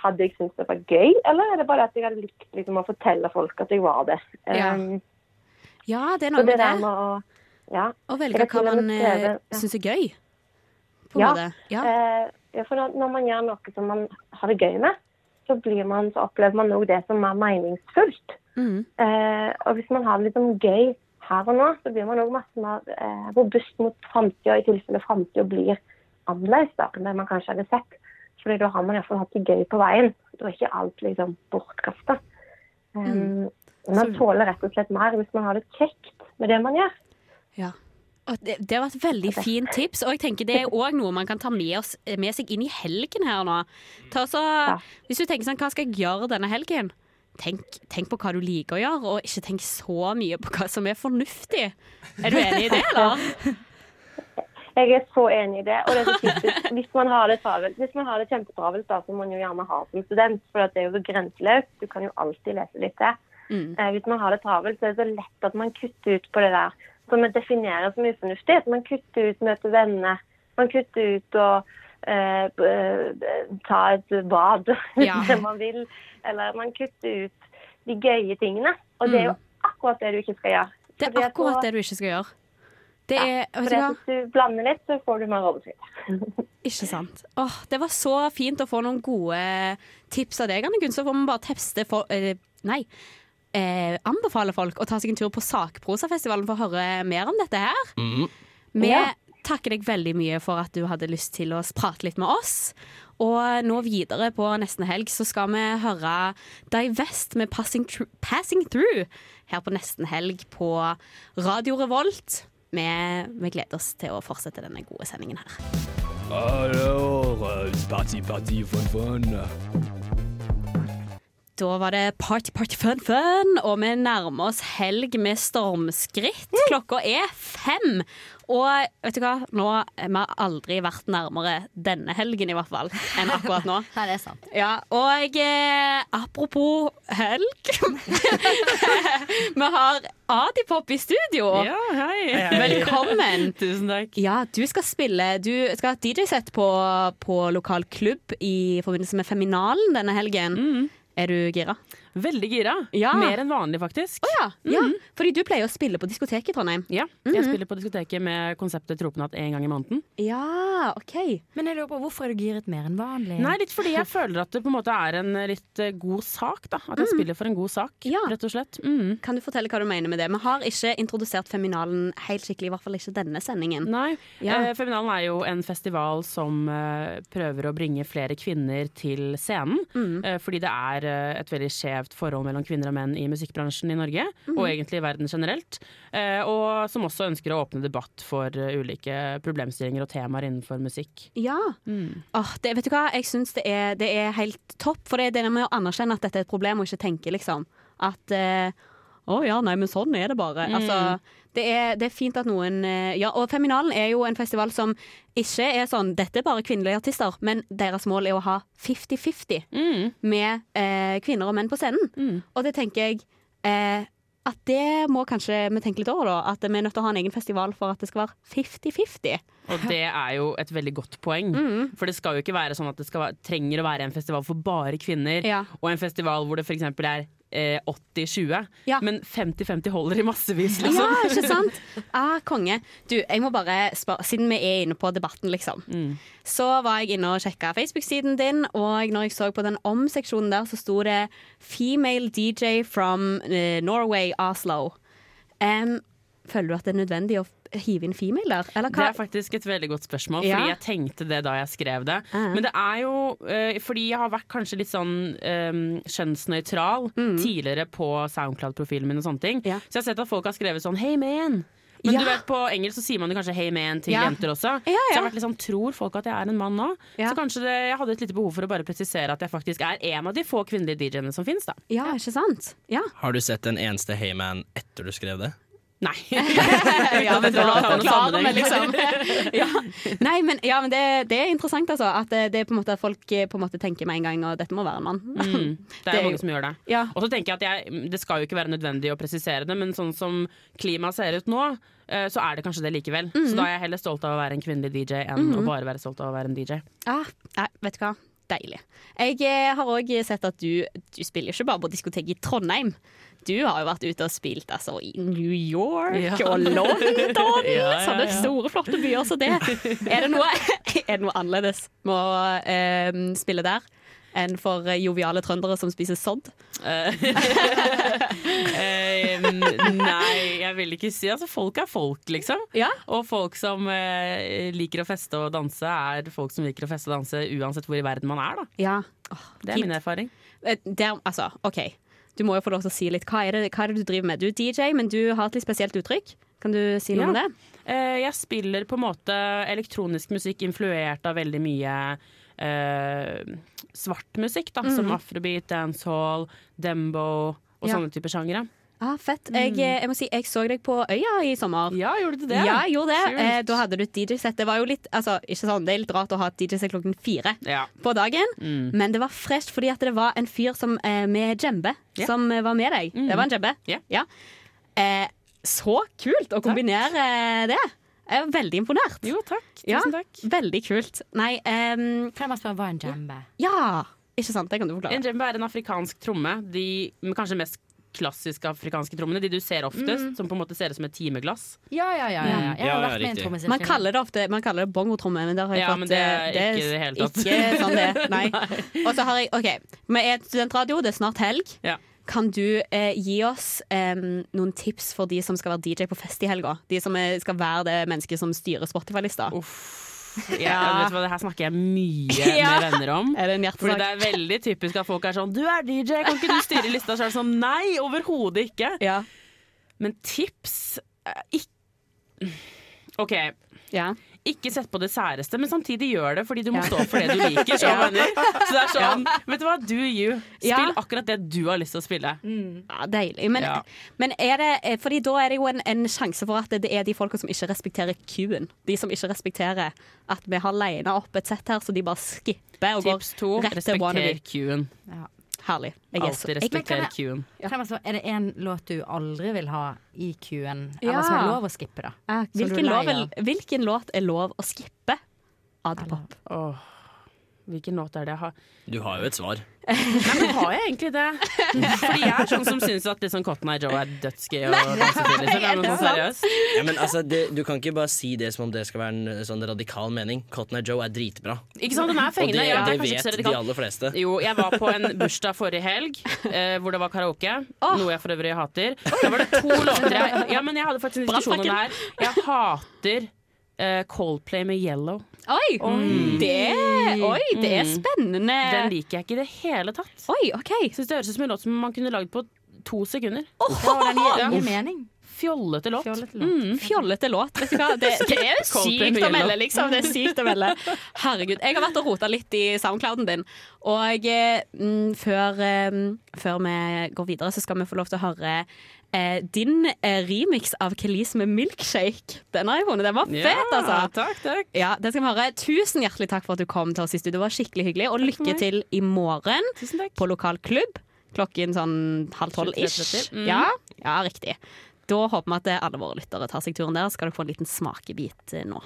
S20: Hadde jeg syntes det var gøy, eller er det bare at jeg hadde likt liksom, å fortelle folk at jeg var det?
S7: Ja.
S20: Um,
S7: Ja, det er
S20: så
S7: noe med
S20: der
S7: det.
S20: med å- ja.
S7: Å
S20: Jeg
S7: velge
S20: vet
S7: hva
S20: ikke om
S7: man eh,
S20: jeg skrev det- ja.
S7: syns er gøy. På en måte. Ja.
S20: Eh, ja, for når, når man gjør noe som man har det gøy med, så, blir man, så opplever man også det som er meningsfullt.
S7: Mm.
S20: Eh, og hvis man har det liksom gøy her og nå, så blir man også masse mer eh, robust mot framtida, i tilfelle framtida blir annerledes da, enn det man kanskje hadde sett. Fordi da har man iallfall hatt det gøy på veien. Da er ikke alt liksom bortkasta.
S7: Mm.
S20: Man
S7: Så-
S20: tåler rett og slett mer hvis man har det kjekt med det man gjør.
S7: Ja. Og det, det var et veldig fint tips, og jeg tenker det er òg noe man kan ta med, oss, med seg inn i helgen her nå. Ta så, Hvis du tenker sånn, hva skal jeg gjøre denne helgen? Tenk, tenk på hva du liker å gjøre, og ikke tenk så mye på hva som er fornuftig. Er du enig i det, eller?
S20: Jeg er så enig i det. Og det
S7: *laughs*
S20: er så typisk, hvis man har det travelt, hvis man har det kjempetravelt, da, som man jo gjerne har som student, for at det er jo så grenseløst, du kan jo alltid lese litt til.
S7: Mm.
S20: Eh, hvis man har det travelt, så er det så lett at man kutter ut på det der som vi definerer som ufornuftig. At man kutter ut møte venner, man kutter ut å eh, b- eh, ta et bad *laughs* hvis
S5: Ja.
S20: det man vil, eller man kutter ut de gøye tingene. Og det er jo akkurat det du ikke skal gjøre.
S7: Mm. Det er akkurat det du ikke skal gjøre. Det er, vet du
S20: fordi
S7: hva?
S20: at hvis du blander litt, så får du mer oversikt.
S7: Ikke sant. Åh, det var så fint å få noen gode tips av deg, Anne Gunn. Så får vi bare teste for eh, Nei. Eh, anbefale folk å ta seg en tur på Sakprosafestivalen for å høre mer om dette her. Vi
S5: Ja.
S7: takker deg veldig mye for at du hadde lyst til å prate litt med oss. Og nå videre på nesten helg så skal vi høre Divest med Passing, Tru- Passing Through her på nesten helg på Radio Revolt. Vi, vi gleder oss til å fortsette denne gode sendingen her.
S3: Alors, euh, c'est parti, parti, fun, fun.
S7: Da var det party, party, fun, fun, og vi nærmer oss helg med stormskritt. Klokka er fem. Og vet du hva, nå vi har aldri vært nærmere denne helgen i hvert fall, enn akkurat
S5: *laughs*
S7: nå.
S8: Ja, det er sant.
S7: Ja, og eh, apropos helg *laughs* Vi har Adipop i studio.
S5: Ja, hei. Hei, hei.
S7: Velkommen.
S5: *laughs* Tusen takk.
S7: Ja, du skal spille Du skal ha et DJ-sett på, på lokal klubb i forbindelse med Feminalen denne helgen.
S5: Mm.
S7: Er du gira?
S5: Veldig gira.
S7: Ja.
S5: Mer enn vanlig, faktisk.
S7: Å ja. Mm. ja. Fordi du pleier å spille på diskotek i Trondheim.
S5: Ja,
S7: Mhm.
S5: Jeg spiller på diskoteket med konseptet Tropenatt én gang i måneden.
S7: Ja, ok.
S8: Men jeg lurer på, hvorfor er du giret mer enn vanlig?
S5: Nei, litt fordi jeg føler at det på en måte er en litt eh, god sak, da. At jeg
S8: Mhm.
S5: spiller for en god sak, rett og slett. Mm.
S7: Kan du fortelle hva du mener med det? Vi har ikke introdusert Feminalen helt skikkelig, i hvert fall ikke denne sendingen.
S5: Nei.
S7: Ja.
S5: Eh, Feminalen er jo en festival som eh, prøver å bringe flere kvinner til scenen.
S8: Mhm.
S5: Eh, fordi det er eh, et veldig skjevt forhold mellom kvinner og menn i musikkbransjen i Norge,
S10: Mhm.
S5: og egentlig i verden generelt. Eh, og som også ønsker å åpne debatt for eh, ulike problemstillinger og temaer innenfor musikk.
S7: Ja.
S5: Mm.
S7: Åh, det, vet du hva? Jeg syns det, er- det er helt topp, for det er det med å anerkjenne at dette er et problem, og ikke tenke liksom at eh, å ja, nei, men sånn er det bare.
S5: Mm.
S7: Altså, det er, det er fint at noen eh, Ja, og Feminalen er jo en festival som ikke er sånn Dette er bare kvinnelige artister, men deres mål er å ha 50-50
S5: Mm.
S7: med eh, kvinner og menn på scenen. Og det tenker jeg eh, at det må kanskje vi tenke litt over, da. At vi er nødt til å ha en egen festival for at det skal være 50-50.
S5: Og det er jo et veldig godt poeng. For det skal jo ikke være sånn at det skal, være- trenger å være en festival for bare kvinner, og en festival hvor det f.eks. er eh, 80-20, men 50-50 holder i massevis, liksom.
S7: Ja,
S5: *laughs*
S7: ikke sant? Ah, konge. Du, jeg må bare spørre, siden vi er inne på debatten, liksom.
S5: Mm.
S7: Så var jeg inne og sjekka Facebook-siden din, og når jeg så på den om-seksjonen der, så sto det 'Female DJ from eh, Norway, Oslo'. Em, føler du at det er nødvendig å hive inn female der, eller
S5: Det
S7: hva?
S5: er faktisk et veldig godt spørsmål, fordi
S7: Ja.
S5: jeg tenkte det da jeg skrev det. Men det er jo eh, fordi jeg har vært kanskje litt sånn eh, kjønnsnøytral
S7: Mm.
S5: tidligere på SoundCloud-profilen min og sånne ting. Så jeg har sett at folk har skrevet sånn 'hey man'. Men
S7: Ja.
S5: du vet, på engelsk så sier man jo kanskje 'hey man' til
S7: Ja.
S5: jenter også. Så jeg har vært litt sånn, tror folk at jeg er en mann nå? Så kanskje det, jeg hadde et lite behov for å bare presisere at jeg faktisk er en av de få kvinnelige DJ-ene som finnes, da.
S7: Ja, ikke sant?
S5: *laughs*
S7: Ja.
S11: Har du sett en eneste Heyman etter du skrev det?
S5: Nei. *laughs*
S7: ja, men da
S5: Uten at det har
S7: forklarer
S5: noen
S7: vi, liksom. *laughs*
S5: sammenheng.
S7: ja. Nei, men, ja, men det, det er interessant, altså. At eh, det er på en måte folk eh, på en måte tenker med en gang at dette må være en mann.
S5: Mm, det er jo mange som gjør det.
S7: *laughs* Ja.
S5: Og så tenker jeg at jeg, Det skal jo ikke være nødvendig å presisere det, men sånn som klimaet ser ut nå, eh, så er det kanskje det likevel.
S7: Mhm.
S5: Så da er jeg heller stolt av å være en kvinnelig DJ enn
S7: Mhm.
S5: å bare være stolt av å være en DJ.
S7: Ah, nei, vet du hva? Deilig. Jeg eh, har òg sett at du, du spiller ikke bare på diskotek i Trondheim. Du har jo vært ute og spilt altså, i New York
S5: Ja.
S7: og London!
S5: *laughs* Ja, ja,
S7: Sånne
S5: ja.
S7: store, flotte byer som det. Er det noe, *laughs* er det noe annerledes med å eh, spille der enn for eh, joviale trøndere som spiser sodd?
S5: Eh, nei, jeg vil ikke si Altså, folk er folk, liksom. Og folk som eh, liker å feste og danse, er folk som liker å feste og danse uansett hvor i verden man er, da.
S7: Ja. Åh,
S5: Det er
S7: fint.
S5: min erfaring.
S7: Eh, Der, altså, OK. Du må jo få lov til å si litt. Hva er, det, hva er det du driver med? Du er DJ, men du har et litt spesielt uttrykk. Kan du si noe om det?
S5: Eh, jeg spiller på en måte elektronisk musikk influert av veldig mye eh, svart musikk, da, som
S7: Mhm.
S5: afrobeat, dancehall, dembo og
S7: Ja.
S5: sånne typer sjangere.
S7: Ah, fett. Jeg, eh, jeg må si, jeg så deg på Øya i sommer.
S5: Mm. Ja, gjorde du det?
S7: Ja, jeg gjorde det.
S5: Kult.
S7: Eh, da hadde du et DJ-sett. Det var jo litt, altså, ikke sånn, det er litt rart å ha et DJ-sett klokken fire
S5: Ja.
S7: på dagen,
S5: Mm.
S7: men det var fresht fordi at det var en fyr som, eh, med djembe
S5: Ja. Mm.
S7: som eh, var med deg. Det var en djembe. Ja. Eh, så kult å kombinere eh, det. Jeg er veldig imponert.
S5: Jo, takk. Tusen
S7: ja,
S5: takk.
S7: Veldig kult. Nei, ehm,
S8: Kan jeg bare spørre hva en djembe er?
S7: Ja, ikke sant? Det kan du forklare.
S5: En djembe er en afrikansk tromme. De men kanskje mest klassiske afrikanske trommene. De du ser oftest,
S7: Mm.
S5: som på en måte ser ut som et timeglass.
S8: Ja, ja, ja. ja, ja. Jeg
S5: Ja,
S8: har
S5: ja,
S8: vært med i en
S5: riktig.
S8: trommesirkel.
S7: Man kaller det ofte Man kaller det bongotromme, men der har jeg
S5: Ja,
S7: fått
S5: men det er
S7: eh,
S5: ikke det hele tatt.
S7: Ikke sånn det,
S5: *laughs*
S7: nei. Og så har jeg OK, vi er et studentradio, det er snart helg. Kan du eh, gi oss eh, noen tips for de som skal være DJ på fest i helga? De som eh, skal være det mennesket som styrer Spotify-lista?
S5: Ja, vet du hva, det her snakker jeg
S7: *laughs*
S5: mye
S7: Ja.
S5: med venner om.
S7: Er det en hjertesak?
S5: Fordi det er veldig typisk at folk er sånn Du er DJ, kan ikke du styre lista? Så er det sånn Nei, overhodet ikke. Men tips eh, ikk- OK. Ikke sett på det særeste, men samtidig gjør det, fordi du må stå for det du liker. Så, mener. så det er sånn, vet du hva, do you. Spill akkurat det du har lyst til å spille.
S7: Mm. Ja, deilig. Men,
S5: Ja.
S7: men er det eh, Fordi da er det jo en, en sjanse for at det er de folka som ikke respekterer queuen. De som ikke respekterer at vi har lina opp et sett her, så de bare skipper og
S5: Tips
S7: går
S5: to,
S7: rett til
S5: respekter
S7: wannabe.
S5: queuen.
S7: Herlig. Jeg er så-
S5: Alltid respekter
S8: Men kan jeg-
S5: queuen.
S8: Kan jeg bare så, er det en låt du aldri vil ha i queuen,
S7: Ja.
S8: eller som er lov å skippe, da?
S7: Ja,
S8: Som Ah, du
S7: hvilken,
S8: er
S7: lov,
S8: lei
S7: er-
S8: av?
S7: hvilken låt er lov å skippe? Adpop.
S5: Åh, hvilken låt er det jeg har?
S11: Du har jo et svar.
S5: Nei, men har jeg egentlig det? Fordi jeg er sånn som syns at liksom Cotton Eye Joe er dødsgøy å danse til. Liksom. Ja, men sånn seriøst.
S11: Ja, men altså, det, du kan ikke bare si det som om det skal være en eh, sånn radikal mening. Cotton Eye Joe er dritbra.
S5: Ikke sant, den er fengende.
S11: Og det,
S5: Ja, det er
S11: det,
S5: kanskje ikke så
S11: vet de
S5: radikalt.
S11: aller fleste.
S5: Jo, jeg var på en bursdag forrige helg eh, hvor det var karaoke, noe jeg for øvrig hater. Da var det to låter jeg Ja, men jeg hadde faktisk en diskusjon om det her. Jeg hater eh, Coldplay med Yellow.
S7: Oi! Det, oi, det er
S5: Mm.
S7: spennende.
S11: Eh.
S5: Den liker jeg ikke i det hele tatt.
S7: Oi, ok
S5: Syns det høres ut som en låt som man kunne lagd på to sekunder.
S8: Ja, den gir ingen mening.
S5: Fjollete låt.
S7: Mm, fjollete låt. Vet du hva? Det,
S5: *laughs*
S7: det er jo
S5: Coldplay
S7: sykt å
S5: med
S7: melde,
S5: Yellow.
S7: liksom. Det er sykt å melde. Herregud. Jeg har vært og rota litt i soundclouden din. Og eh, mm, før, eh, før vi går videre, så skal vi få lov til å høre eh, din eh, remix av Kelis med milkshake. Den har jeg vunnet. Den var
S5: Ja,
S7: fet, altså.
S5: Takk, takk.
S7: Ja, det skal vi høre. Tusen hjertelig takk for at du kom til oss i studio. Det var skikkelig hyggelig. Og
S5: for
S7: lykke
S5: meg.
S7: til i morgen
S5: Tusen takk.
S7: på lokal klubb. Klokken sånn halv tolv-ish.
S5: 23.30. Mm.
S7: Ja, ja, riktig. Da håper vi at alle våre lyttere tar seg turen der. Skal dere få en liten smakebit eh, nå.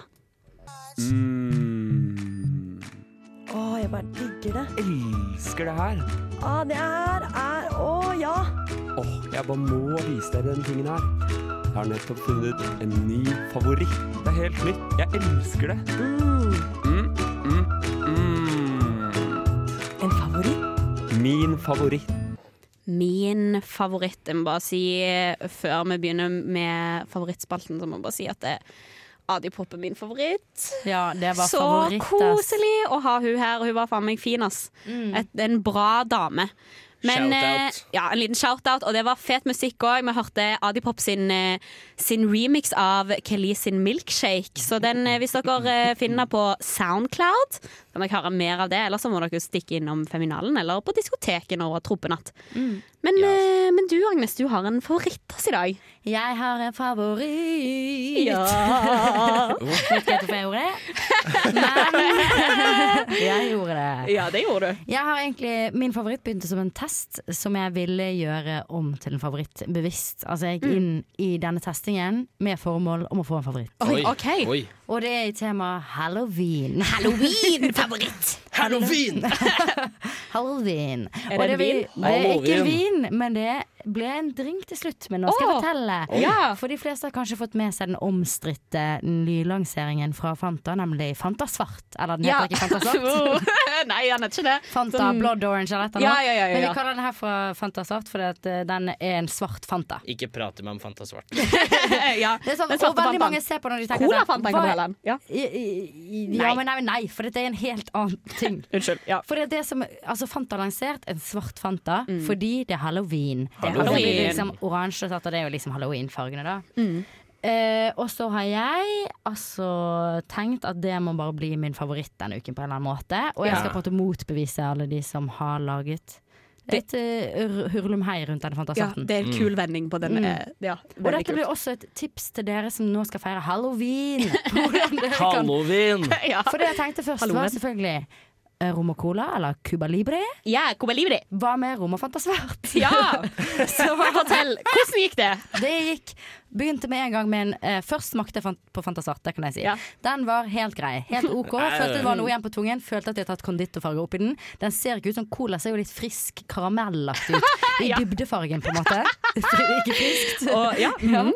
S6: Å, jeg bare digger det.
S10: Elsker det her.
S6: Å, det her er Å, ja!
S10: Åh, jeg bare må vise dere den tingen her. Jeg har nettopp funnet en ny favoritt. Det er helt nytt. Jeg elsker det. Mm, mm, mm.
S6: En favoritt?
S10: Min favoritt.
S7: Min favoritt Jeg må bare si eh, Før vi begynner med favorittspalten, så må jeg bare si at eh, Adipop er min favoritt.
S8: Ja, det var
S7: Så
S8: favoritt, ass.
S7: koselig å ha hun her. Hun var faen meg fin, ass.
S8: Mm.
S7: Et, en bra dame. Men,
S8: Shout-out.
S7: eh, ja, en liten shout-out, og det var fet musikk òg. Vi hørte Adipop sin, eh, sin remix av Kelly sin 'Milkshake'. Så den, eh, hvis dere eh, finner på Soundcloud, kan dere høre mer av det. Eller så må dere jo stikke innom Feminalen eller på diskoteket over Tropenatt.
S8: Mm.
S7: Men, eh, men du Agnes, du har en favoritt oss i dag.
S8: Jeg har en favoritt.
S7: Ja.
S8: Vet ikke hvorfor jeg gjorde det, men *laughs* jeg gjorde det.
S7: *laughs* Ja, det gjorde du.
S8: Jeg har egentlig, Min favoritt begynte som en test som jeg ville gjøre om til en favoritt bevisst. Altså
S7: Mm.
S8: Jeg gikk inn i denne testingen med formål om å få en favoritt.
S7: Oi, Oi, ok. oi.
S8: Og det er i temaet halloween.
S7: Halloween-favoritt!
S11: Halloween!
S8: Halloween.
S7: Er
S8: Og
S7: det en
S8: vi-
S7: vin?
S8: Det er ikke
S7: Halloween.
S8: vin, men det ble en drink til slutt. Men nå skal
S7: Åh,
S8: jeg fortelle.
S7: oi. Ja.
S8: For de fleste har kanskje fått med seg den omstridte nylanseringen fra Fanta, nemlig Fanta Svart. Eller den
S7: Ja.
S8: heter ikke
S7: *laughs*
S8: *laughs* Fanta Svart.
S7: Nei, han heter ikke det.
S8: Fanta
S7: Sånn-
S8: Blood Orange eller et eller
S7: Ja,
S8: annet.
S7: ja, ja, ja,
S8: Men
S7: ja.
S8: vi kaller den her fra Fanta Svart fordi at eh, den er en svart Fanta.
S11: Ikke prate med om Fanta Svart.
S7: *laughs* ja,
S8: Det er sånn,
S7: den
S8: og
S7: svarte Fantaen.
S8: veldig mange ser på når de tenker
S7: Cola
S8: sånn,
S7: Fantaen kan
S8: hva-
S7: du helle den. Ja.
S8: Ja,
S7: Nei.
S8: men nei, men nei, for dette er en helt annen *laughs* ting.
S7: Unnskyld.
S8: For det er det som altså Fanta har lansert en svart Fanta fordi det er halloween.
S7: Mm. er
S8: Og så blir
S7: halloween. Mm.
S8: det liksom oransje og sånt, og det er jo liksom halloween-fargene, da. Eh, og så har jeg altså tenkt at det må bare bli min favoritt denne uken på en eller annen måte. Og jeg
S7: Ja.
S8: skal på en måte motbevise alle de som har laget et uh, hurlumhei rundt denne Fanta
S7: Ja,
S8: Svarten.
S7: det er en kul vending på den.
S8: Mm.
S7: eh, Ja,
S8: Og
S7: veldig
S8: dette
S7: kult.
S8: blir også et tips til dere som nå skal
S7: *laughs*
S8: feire halloween. Hvordan dere kan-
S11: Halloween!
S8: For det jeg tenkte først var
S7: Halloween.
S8: selvfølgelig eh, Rom og Cola eller Cuba Libre.
S7: Ja, Cuba Libre.
S8: Hva med Rom og Fanta Svart?
S7: *laughs* Ja! *laughs*
S8: Så
S7: fortell, hvordan gikk det?
S8: *laughs* Det gikk, begynte med en gang med en eh, Først smakte jeg fan- på Fanta Svart, det kan jeg si. Den var helt grei. Helt OK. Følte det var noe igjen på tungen. Følte at de har tatt konditorfarge oppi den. Den ser ikke ut som cola, ser jo litt frisk
S7: *laughs*
S8: karamellaktig ut. I dybdefargen, på en måte. ikke friskt.
S7: Og- ja, mm,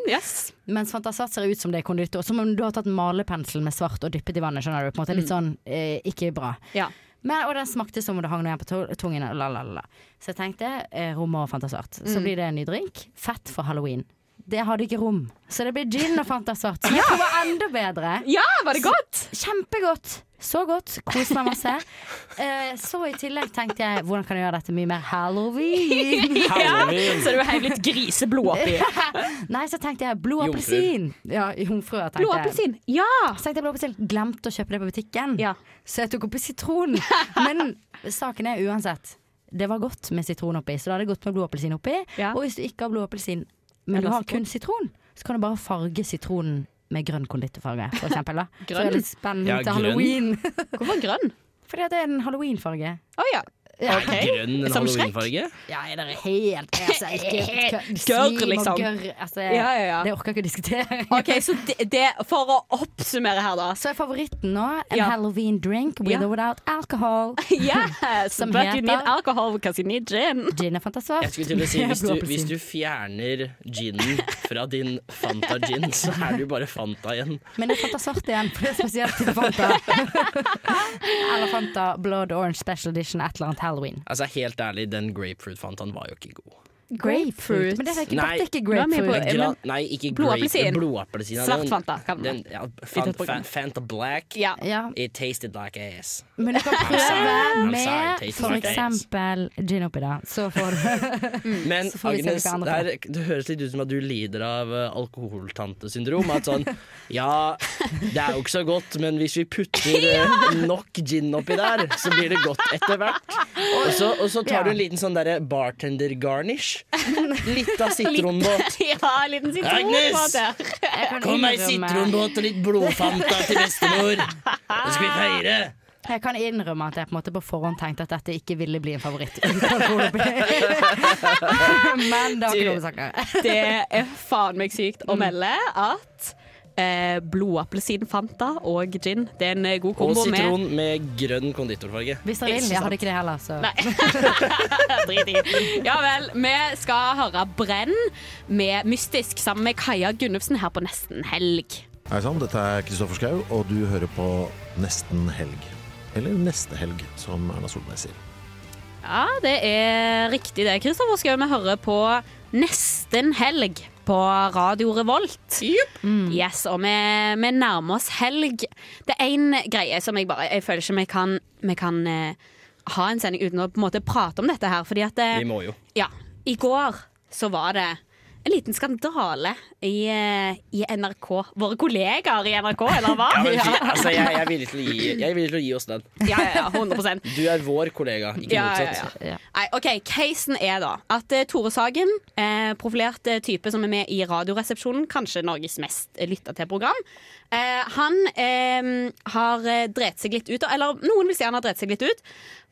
S8: Mens Fanta Svart ser ut som det er konditor. Som om du har tatt malepensel med svart og dyppet i vannet. Skjønner du? På en måte. Litt
S7: Mm.
S8: sånn eh, ikke bra.
S7: Ja.
S8: Men, og den smakte som om det hang noe igjen på to- tungen. La, la, la. Så jeg tenkte eh, rom og Fanta Svart. Så
S7: Mm.
S8: blir det en ny drink. Fett for halloween. Det hadde ikke rom, så det blir gin og Fanta Svart. Som jeg tror var enda bedre.
S7: Ja, var det godt?
S8: Så Kjempegodt! Så godt. Koste meg masse. Eh, så i tillegg tenkte jeg hvordan kan jeg gjøre dette mye mer
S7: *laughs*
S8: halloween?
S7: Ja, så du heiv litt griseblod oppi.
S8: Nei, så tenkte jeg blå appelsin. Ja, jomfru, tenkte
S7: Blå
S8: jeg.
S7: appelsin, ja!
S8: Så tenkte jeg blå appelsin. Glemte å kjøpe det på butikken, så jeg tok oppi
S7: *laughs*
S8: sitron. Men saken er uansett, det var godt med sitron oppi, så da hadde det gått med blå appelsin oppi. Og hvis du ikke har blå appelsin, men
S7: Eller
S8: du har
S7: sitron.
S8: kun sitron, så kan du bare farge sitronen med grønn konditorfarge,
S7: *laughs*
S8: for eksempel. Da. Så det er litt spennende
S11: Ja,
S8: til
S11: grønn.
S8: halloween. *laughs* Hvorfor grønn? Fordi at det er en halloweenfarge.
S7: Å ja.
S11: Er Grønn en
S8: Som Shrek?
S11: halloweenfarge?
S8: Ja, er dere helt altså,
S7: *laughs*
S8: ikke- kø-
S7: Gørr,
S8: svim og
S7: liksom.
S8: gørr, altså,
S7: Ja, ja, ja.
S8: Det orker jeg ikke å diskutere.
S7: Ok, så det, det, For å oppsummere her, da.
S8: *laughs* Så er favoritten nå en
S7: Ja.
S8: halloween drink with
S7: Ja.
S8: or without
S7: *laughs*
S8: alcohol.
S7: Yes,
S8: Som
S7: but you
S8: heter-
S7: need alcohol because you need gin.
S8: Gin er fantastisk.
S11: Jeg skulle til
S8: *laughs*
S11: å si, hvis du, hvis du fjerner ginen fra din Fanta-gin, så er du bare Fanta igjen.
S8: Men det er Fanta svart igjen, for det er spesielt til *laughs* Fanta. eller Fanta Blood Orange Special Edition, et eller annet halloween.
S11: Altså, helt ærlig, den grapefruit-fantaen var jo ikke god.
S8: Grapefruit. Men det er ikke,
S11: Nei.
S8: dette er ikke grapefruit.
S11: Det er gra- Nei, ikke
S7: Blodappelsin.
S11: grape- Blodappelsin. ja,
S7: Svart
S11: den-
S7: Fanta, kan man.
S11: den- ja, Fanta, Fan- Fanta Black.
S7: Ja.
S11: It tasted like ass.
S8: Men du kan
S11: I'm
S8: prøve
S11: sorry,
S8: med
S11: tastes
S8: for
S11: like ass.
S8: eksempel gin oppi da. Så får
S11: *laughs*
S8: du
S11: Men
S8: Så får vi se
S11: Agnes,
S8: hvilke andre
S11: det, er, det høres litt ut som at du lider av eh, alkoholtantesyndrom. At
S7: *laughs*
S11: sånn Ja, det er jo ikke så godt, men hvis vi
S7: *laughs*
S11: putter eh, nok gin oppi der, så blir det godt etter hvert. Og så, og så tar du en liten sånn derre
S7: *laughs*
S11: bartender-garnish. Litt av sitronbåt.
S7: Ja, en liten
S11: Agnes!
S7: sitronbåt der.
S11: Kom ei sitronbåt og litt blodfanta til *laughs* bestemor! Nå skal vi feire!
S8: Jeg kan innrømme at jeg på, en måte på forhånd tenkte at dette ikke ville bli en favoritt. *laughs* uten alkohol oppi.
S11: *laughs*
S8: Men det var ikke noe sagt.
S7: Det er faen meg sykt å melde at eh, blodappelsin, Fanta og gin Det er en eh, god
S11: Og
S7: kombo med
S11: sitron med grønn konditorfarge.
S8: Hvis dere vil. Jeg hadde ikke det heller, så
S7: Drit i. *laughs* Ja vel. Vi skal høre Brenn med Mystisk sammen med Kaja Gunnufsen her på Nesten helg.
S22: Hei sann, dette er Kristoffer Schau, og du hører på Nesten helg. Eller Neste helg, som Erna Solberg sier.
S7: Ja, det er riktig det, Kristoffer Schau. Vi hører på Nesten helg på Radio Revolt. Mm. Yes, og vi, vi nærmer oss helg. Det er én greie som jeg bare Jeg føler ikke vi kan, vi kan eh, ha en sending uten å på en måte prate om dette her, fordi at eh,
S11: Vi må jo.
S7: Ja. I går så var det en liten skandale i, eh, i NRK. Våre kollegaer i NRK, eller hva?
S11: Ja, men, fy- altså, jeg, jeg, er villig til å gi, jeg er villig til å gi oss den.
S7: Ja, ja, ja, 100
S11: Du er vår kollega, ikke
S7: Ja, ja,
S11: motsatt.
S7: ja. Nei, ok, Casen er da at eh, Tore Sagen, eh, profilert eh, type som er med i Radioresepsjonen, kanskje Norges mest eh, lytta til program, eh, han eh, har eh, drept seg litt ut. og- Eller noen vil si han har drept seg litt ut,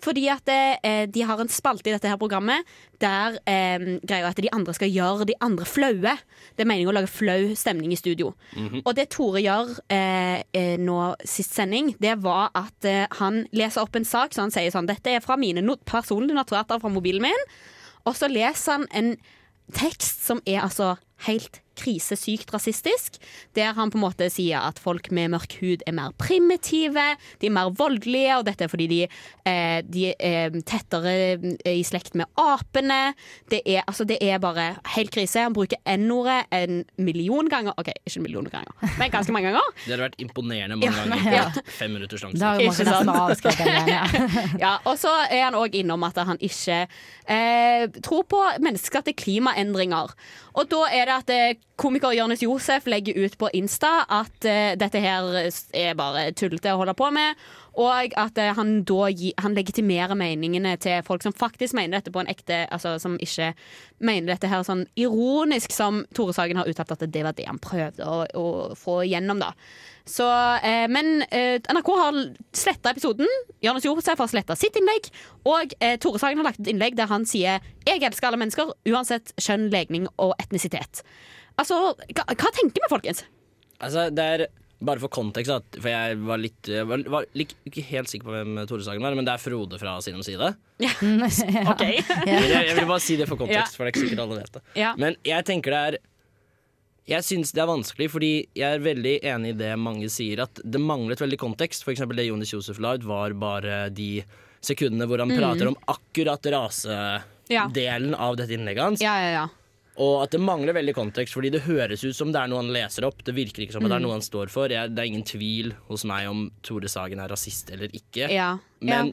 S7: fordi at eh, de har en spalte i dette her programmet der eh, greia er at de andre skal gjøre de andre flaue. Det er meningen å lage flau stemning i studio.
S23: Mhm.
S7: Og det Tore gjør eh, eh, nå sist sending, det var at eh, han leser opp en sak, så han sier sånn Dette er fra mine not personlige notater fra mobilen min. Og så leser han en tekst som er altså helt krisesykt rasistisk, der han på en måte sier at folk med mørk hud er mer primitive, de er mer voldelige, og dette er fordi de, eh, de er tettere eh, i slekt med apene. Det er, altså, det er bare helt krise. Han bruker N-ordet en million ganger. OK, ikke en million ganger, men ganske mange ganger.
S11: Det hadde vært imponerende mange
S7: Ja,
S11: ganger.
S7: ja.
S11: på et Fem minutters
S8: Da
S11: sjanse.
S8: har jo
S7: Ikke
S8: Martin nesten
S7: sant?
S8: avskrevet den
S11: *laughs*
S8: igjen. Ja. *laughs*
S7: ja, og så er han òg innom at han ikke eh, tror på menneskeskapte klimaendringer. Og da er det at eh, komiker Jonis Josef legger ut på Insta at eh, dette her er bare tullete å holde på med. Og at eh, han da gi, han legitimerer meningene til folk som faktisk mener dette på en ekte Altså som ikke mener dette her sånn ironisk, som Tore Sagen har uttalt at det var det han prøvde å, å få igjennom, da. Så, eh, men eh, NRK har sletta episoden. Jonas Josef har sletta sitt innlegg. Og eh, Tore Sagen har lagt et innlegg der han sier 'Jeg elsker alle mennesker, uansett kjønn, legning og etnisitet'. Altså, hva, hva tenker vi, folkens?
S11: Altså, det er bare for kontekst, da, for jeg var litt jeg var, var lik- ikke helt sikker på hvem Tore Sagen var, men det er Frode fra Sin om side.
S7: OK.
S11: Jeg, jeg vil bare si det for kontekst,
S7: Ja.
S11: for det er ikke sikkert alle vet det.
S7: Ja.
S11: Men jeg tenker det er Jeg syns det er vanskelig, fordi jeg er veldig enig i det mange sier, at det manglet veldig kontekst. For eksempel det Jonis Josef la ut, var bare de sekundene hvor han
S7: Mm.
S11: prater om akkurat rasedelen
S7: Ja.
S11: av dette innlegget hans.
S7: Ja, ja, ja.
S11: Og at det mangler veldig kontekst, fordi det høres ut som det er noe han leser opp. Det virker ikke som
S23: Mm.
S11: at det er noe han står for. Jeg, det er ingen tvil hos meg om Tore Sagen er rasist eller ikke.
S23: Ja,
S11: Men
S23: ja.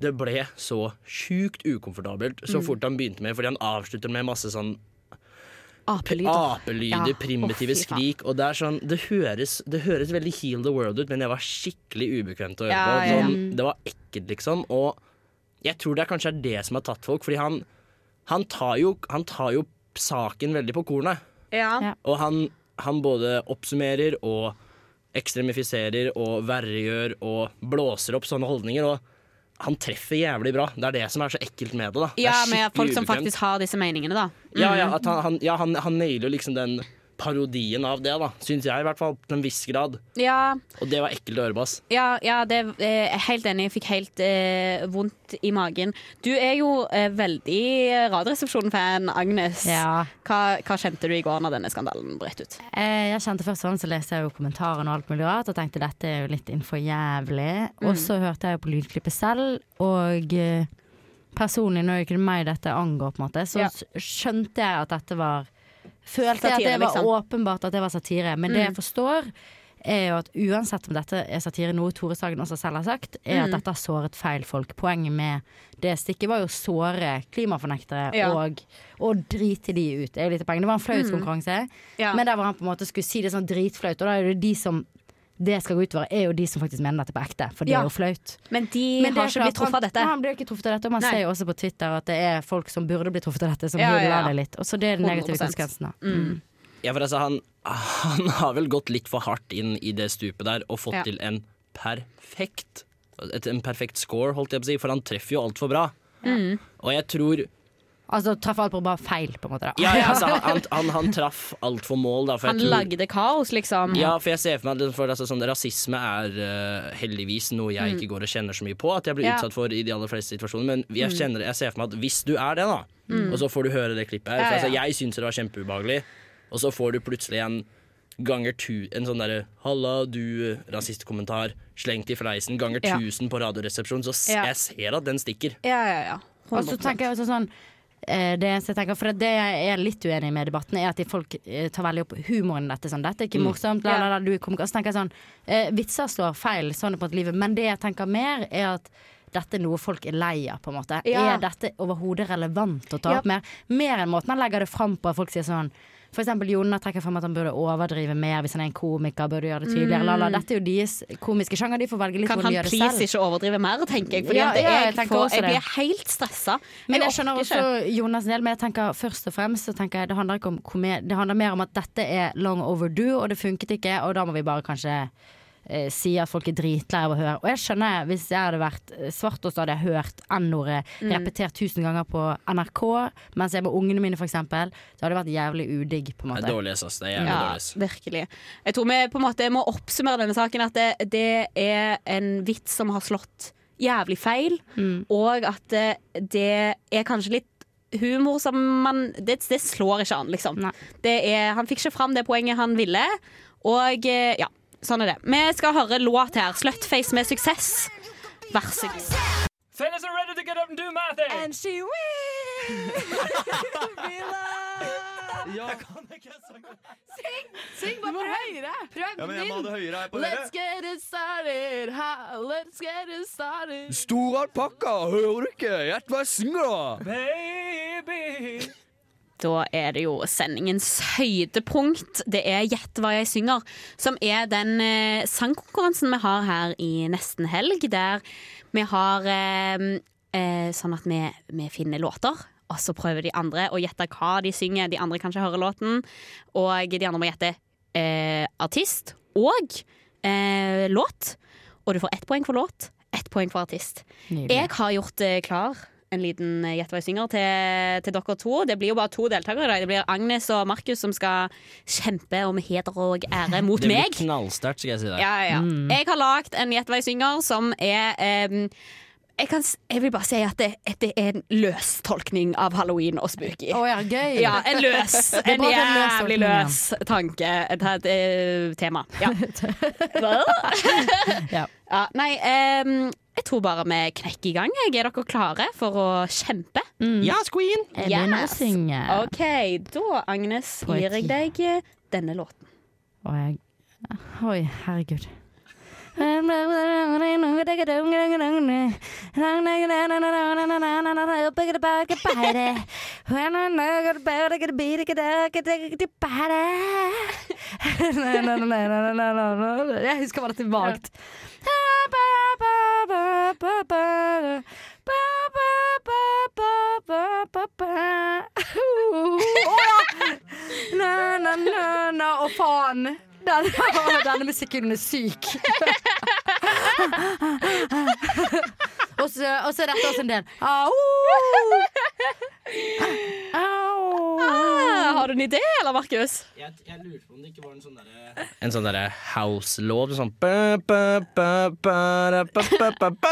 S11: det ble så sjukt ukomfortabelt så
S23: Mm.
S11: fort han begynte med, fordi han avslutter med masse sånn
S7: Apelyder.
S11: Apelyder,
S7: Ja.
S11: primitive
S7: Å, fy faen.
S11: skrik. Og det er sånn det høres, det høres veldig heal the world ut, men det var skikkelig ubekvemt å høre
S23: Ja,
S11: på.
S23: ja, ja.
S11: Sånn, Det var ekkelt, liksom. Og jeg tror det er kanskje er det som har tatt folk, fordi han, han, tar, jo, han tar jo saken veldig på kornet.
S7: Ja.
S11: Og han, han både oppsummerer og ekstremifiserer og verregjør og blåser opp sånne holdninger. Og han treffer jævlig bra. Det er det som er så ekkelt med det. da Det er
S7: Ja, med
S11: skikkelig
S7: folk som
S11: ubekvemt.
S7: faktisk har disse meningene, da. Mm.
S11: Ja, ja, at han, han, ja han, han nailer liksom den parodien av det, da. Syns jeg, i hvert fall. Til en viss grad.
S7: Ja,
S11: Og det var ekkelt å høre på, ass.
S7: Ja, ja det eh, jeg er helt enig. Jeg fikk helt eh, vondt i magen. Du er jo eh, veldig Radioresepsjonen-fan, Agnes.
S8: Ja.
S7: Hva, hva kjente du i går når denne skandalen brøt ut?
S8: Eh, Jeg kjente først sånn, så leste jeg jo kommentarene og alt mulig rart og tenkte dette er jo litt innenfor jævlig.
S7: Mm.
S8: Og så hørte jeg jo på lydklippet selv, og eh, personlig, nå er jo ikke det meg dette angår, på en måte, så
S7: Ja.
S8: s- skjønte jeg at dette var Følte jeg at
S7: Satire,
S8: det var
S7: liksom.
S8: åpenbart at det var satire, men det
S7: Mm.
S8: jeg forstår er jo at uansett om dette er satire, noe Tore Sagen også selv har sagt, er
S7: Mm.
S8: at dette har såret feil folk. Poenget med det stikket var jo å såre klimafornektere
S7: Ja.
S8: og, og drite de ut. Det er jo litt av poenget. Det var en flaut
S7: Mm.
S8: konkurranse.
S7: Ja.
S8: Men der hvor han på en måte skulle si det sånn dritflaut, og da er det de som det skal gå utover, er jo de som faktisk mener dette på ekte, for det
S7: Ja.
S8: er jo flaut.
S7: Men de
S8: Men det
S7: har ikke
S8: klart
S7: blitt truffet av dette.
S8: Nei, han ble ikke truffet av dette, og man
S7: Nei.
S8: ser jo også på Twitter at det er folk som burde bli truffet av dette, som
S7: Ja,
S8: hyller
S7: ja, ja.
S8: det litt. Og så det er den negative
S7: 100%.
S8: konsekvensen. da.
S7: Mm.
S11: Ja, for altså, han, han har vel gått litt for hardt inn i det stupet der og fått
S7: Ja.
S11: til en perfekt et, En perfekt score, holdt jeg på å si, for han treffer jo altfor bra.
S7: Mhm.
S8: Mm.
S11: Og jeg tror
S8: Altså traff alt på bare feil, på en måte. Da.
S11: Ja, ja altså, han, han, han traff altfor mål, da. For jeg
S7: Han
S11: tror-
S7: lagde kaos, liksom.
S11: Ja, for jeg ser for meg at- for altså, sånn, Rasisme er eh, heldigvis noe jeg
S7: Mm.
S11: ikke går og kjenner så mye på at jeg blir
S7: Ja.
S11: utsatt for i de aller fleste situasjoner, men jeg,
S7: Mm.
S11: kjenner, jeg ser for meg at hvis du er det, da,
S7: Mm.
S11: og så får du høre det klippet her
S7: Ja,
S11: for, altså,
S7: ja.
S11: Jeg syns det var kjempeubehagelig, og så får du plutselig en ganger tu, en sånn derre 'halla, du eh, rasistkommentar', slengt i fleisen, ganger
S8: Ja.
S11: 1000 på Radioresepsjonen, så s
S8: Ja.
S11: jeg ser at den stikker.
S7: Ja, ja, ja.
S8: Og så tenker jeg også sånn eh, det, eneste jeg tenker, for det jeg er litt uenig med i debatten, er at de folk eh, tar veldig opp humoren i dette. Sånn, 'Dette er ikke
S7: Mm.
S8: morsomt.' La, la, la, du er komiker. Så tenker jeg sånn eh, Vitser slår feil, sånn er på en måte livet. Men det jeg tenker mer, er at dette er noe folk er lei av, på en måte.
S7: Ja.
S8: Er dette overhodet relevant å ta
S7: Ja.
S8: opp mer? Mer enn måten han legger det fram på. at Folk sier sånn for eksempel Jonna trekker frem at han burde overdrive mer hvis han er en komiker. burde gjøre det tydeligere, la, la.
S7: Mm.
S8: Dette er jo deres komiske sjanger, de får velge litt
S7: Kan
S8: hvor
S7: han
S8: de gjør det selv.
S7: please ikke overdrive mer, tenker jeg. Fordi
S8: Ja,
S7: at jeg,
S8: ja, jeg tenker
S7: får,
S8: også
S7: jeg
S8: det.
S7: blir helt stressa.
S8: Men
S7: Jeg
S8: jeg skjønner
S7: orker
S8: også Jonas del, men jeg tenker først og fremst så tenker jeg, det handler ikke om komedie, det handler mer om at dette er long overdue, og det funket ikke, og da må vi bare kanskje eh, si at folk er dritlei av å høre. Og jeg skjønner, hvis jeg hadde vært eh, svart, og så hadde jeg hørt N-ordet
S7: Mm.
S8: repetert tusen ganger på NRK, mens jeg er med ungene mine, for eksempel, så hadde det vært jævlig udigg, på en
S11: Det
S8: måte.
S11: er dårlig, ass. Det er jævlig
S7: ja,
S11: dårlig. ass.
S7: Virkelig. Jeg tror vi på en måte må oppsummere denne saken at det, det er en vits som har slått jævlig feil, og at eh, det er kanskje litt Humor som man Det, det slår ikke an, liksom. Det er, han fikk ikke fram det poenget han ville, og eh, ja. Sånn er det. Vi skal høre låt her. 'Slutface med suksess'. Vær så god.
S24: Fellas are ready to get up and do my thing. And she
S25: Syng! Syng bare prøv! Høyere. Prøv
S13: Ja, men jeg må ha det høyere her på dere.
S25: Let's get it started, ha, let's get it started.
S13: Stor alpakka, hører du ikke? Gjett hva jeg synger, da!
S25: Baby!
S7: Da er det jo sendingens høydepunkt. Det er Gjett hva jeg synger, som er den eh, sangkonkurransen vi har her i nesten helg, der vi har eh, eh, sånn at vi, vi finner låter. Og så prøver de andre å gjette hva de synger. De andre kan ikke høre låten. Og de andre må gjette eh, artist og eh, låt. Og du får ett poeng for låt, ett poeng for artist.
S8: Nydelig.
S7: Jeg har gjort eh, klar en liten eh, Gjett hva jeg synger til, til dere to. Det blir jo bare to deltakere i dag. Det blir Agnes og Markus som skal kjempe om heder og ære mot
S11: det blir Mm.
S7: meg.
S11: knallsterkt, skal jeg si deg.
S7: Ja, ja. Jeg har lagd en Gjett hva jeg synger som er ehm, jeg, kan, s- jeg vil bare si at det, at det er en løstolkning av halloween og spooky.
S8: Å ja, gøy.
S7: Ja, en
S11: *laughs*
S7: løs,
S8: Det er
S7: en
S8: bra at det er en løs
S7: jævlig
S8: tolkning, ja.
S7: løs tanke. Et, et, eh, tema.
S11: *laughs*
S7: Ja.
S8: Ja.
S7: ja, nei, ehm, jeg tror bare vi knekker i gang. Jeg er dere klare for å kjempe?
S8: Mm.
S5: Yes, queen!
S8: Jeg begynner å synge.
S7: OK, da, Agnes,
S8: På et
S7: gir jeg deg eh, denne låten.
S8: Og jeg Oi, herregud. Jeg husker bare at det er vagt. Na, na, na, na. Å, faen! Den, *laughs* å, denne musikken er syk. *laughs* og så og så dette også en del. Au! Au!
S7: Ah, har du en idé, eller, Markus?
S11: Jeg, lurer på om det ikke var en sånn derre En sånn derre house-lov sånn ba, ba, ba, ba, da, ba, ba, ba, ba.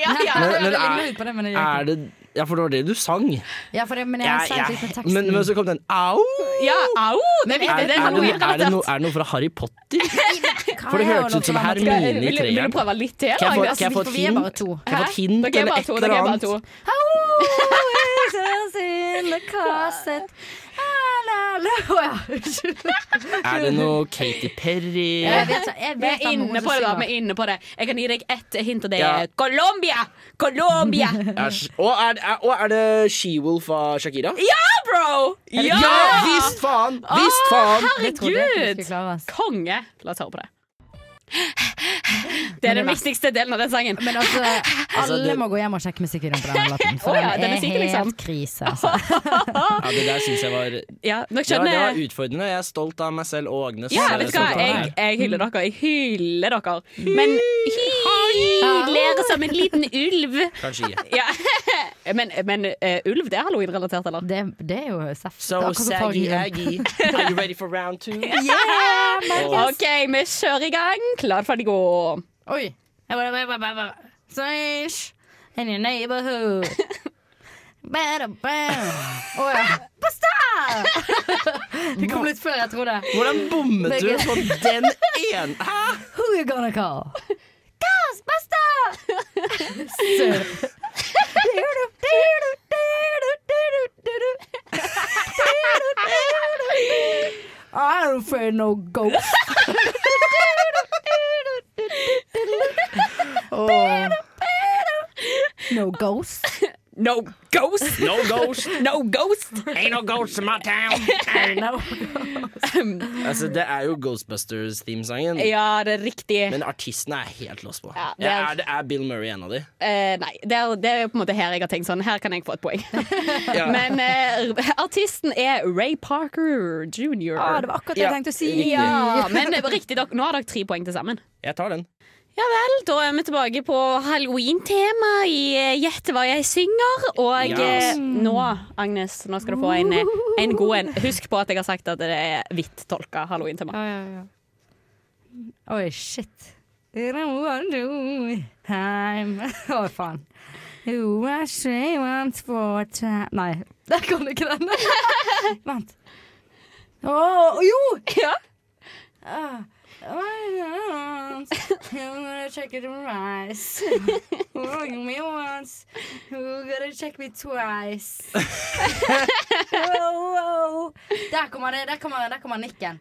S8: Ja, ja.
S11: Men- men
S8: Jeg
S11: er-
S8: lurer på det, men jeg gjør
S11: Er det Ja, for det var det du sang.
S8: ikke. Ja, for det, men jeg
S11: Ja,
S8: har
S11: ja.
S8: sett litt med teksten.
S11: Men, altså, men så kom den au!
S7: Ja, au!
S11: Er,
S7: Det er
S11: er,
S7: viktig.
S11: det, noe, er,
S7: Det er
S11: det
S7: hovedrelatert.
S11: noe, er det noe fra Harry
S8: *laughs*
S11: Potter?
S8: Hva
S11: For det
S8: er
S11: hørtes
S8: noe
S11: ut som
S8: for meg?
S11: Hermione i
S7: Vil, vil, vil
S11: treeren.
S7: du prøve litt til?
S11: Kan jeg få-
S7: Agnes?
S11: kan jeg få et
S8: For altså, vi er bare
S11: hint?
S8: to.
S11: Kan jeg få et
S7: Hæ?
S11: hint
S7: Dere er
S11: eller
S7: bare
S11: et
S7: to,
S11: eller
S7: dere er bare
S11: annet?
S7: to.
S8: Always us in the closet. Ah, la, la. *laughs* Å, ja. Unnskyld.
S11: Er det
S8: *laughs*
S11: noe Katy Perry?
S8: Jeg vet, jeg
S7: Vi
S8: vet
S7: er
S8: om noen
S7: inne
S8: som
S7: på det, da.
S8: synger.
S7: Vi er inne på det. Jeg kan gi deg ett hint, og det
S11: Ja.
S7: er Colombia! Colombia!
S11: Æsj. Og er, er, og er det She-Wolf av Shakira?
S7: Ja, bro!
S11: Ja! visst faen! Visst faen!
S7: Å,
S8: Det trodde jeg ikke vi
S7: herregud!
S8: skulle klare, ass.
S7: Konge. La oss høre på det. Det
S8: Men
S7: er den
S8: det-
S7: viktigste delen av den sangen.
S8: Men altså,
S11: Altså,
S8: alle
S11: det-
S8: må gå hjem og sjekke musikkvideoen på den lappen.
S7: Å
S8: For
S7: ja, den
S8: den
S7: er
S8: er
S7: sikker,
S8: helt
S7: liksom.
S8: krise, altså.
S11: Ja, det der syns jeg var
S7: Ja,
S11: ja,
S7: dere skjønner
S11: Det var utfordrende. Jeg er stolt av meg selv og Agnes.
S7: Ja,
S11: eh,
S7: vet du hva?
S11: stolt av
S7: Jeg,
S11: deg.
S7: jeg hyller dere. Jeg hyller dere. Men hyler som en liten ulv.
S11: Kanskje ikke.
S7: Ja. *laughs* Men, men eh, ulv, det er halloween-relatert, eller?
S8: Det, det er jo seff.
S11: So
S8: Akkurat som
S11: saggy
S8: forrige.
S11: aggy, are you ready for round
S7: *laughs*
S11: two? Markus.
S7: OK, vi kjører i gang. Klar, ferdig, gå.
S8: Oi. Swish in your neighborhood. Bada bam. Å ja. Basta! Det kom litt før jeg trodde.
S11: Hvordan bommet du på den ene? Hæ?
S8: Who you gonna call? Ghostbuster! Søren. Du-du, du-du, du-du, du-du, du-du. Du-du, du-du, du-du. *laughs* I don't fear no ghost. *laughs*
S11: Åh.
S8: Oh. No ghost.
S7: No ghost!
S11: No ghost.
S7: No ghost!
S11: Ain't no ghosts in my
S7: *laughs*
S11: town.
S8: No.
S11: Altså, det er jo Ghostbusters-themesangen.
S7: Ja, det er riktig.
S11: Men artistene er jeg helt lost på.
S7: Ja, det
S11: det
S7: er-
S11: er... Er, Bill Murray en av de?
S7: Eh, nei, det er, det er på en måte her jeg har tenkt sånn. Her kan jeg få et poeng. Men eh, artisten er Ray Parker jr.
S4: Ah, det var akkurat det jeg tenkte å si.
S11: riktig.
S7: Ja, men riktig, dere, nå har dere tre poeng til sammen.
S11: Jeg tar den.
S7: Ja vel, da er vi tilbake på halloween-tema i eh, Gjett hva jeg synger. Og eh,
S11: Yes.
S7: nå, Agnes, nå skal du få en, eh, en god en. Husk på at jeg har sagt at det er hvitt tolka halloween-tema.
S8: Oi, shit. You don't want to time. Å, faen. You are she once for time Nei, *laughs* der kom det ikke den. Vent. Å, jo!
S7: Ja.
S8: Ah. I'm gonna check it twice. Look me once. Who gonna check me twice? Wow, wow. Der kommer det, der kommer, der kommer nikken.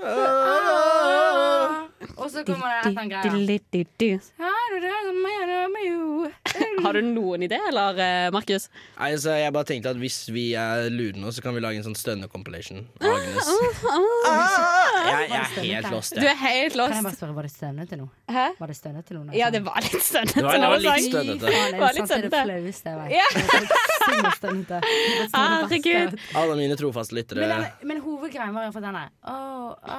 S8: Ah. Og så kommer det etter en greie.
S7: Du-du-du-du. Har du noen idé, eller, eh, Markus?
S11: Nei, altså, jeg bare tenkte at Hvis vi er lure nå, så kan vi lage en sånn stønne-compilation.
S7: Ah,
S11: Agnes. Ah! Jeg, jeg er helt lost,
S7: Du
S11: jeg.
S7: er helt
S8: Kan jeg bare
S7: lost.
S8: spørre, var det stønnete nå?
S7: Hæ?
S8: Var det stønnete nå? når jeg
S7: Ja,
S8: sang?
S7: det var litt stønnete.
S11: sånn. Det var- det var litt
S7: altså.
S11: stønnete.
S8: Fy faen, er
S7: Var
S8: det
S7: litt
S8: sant? sånn Det er det
S7: stønnete.
S8: flaueste jeg vet.
S7: Ja. Ah,
S8: Det er sykt stønnete. Det er sånn det verste jeg
S7: Herregud.
S8: vet.
S11: Alle mine trofaste lyttere.
S8: Men, den- men hovedgreien var iallfall denne. Oh, oh, oh.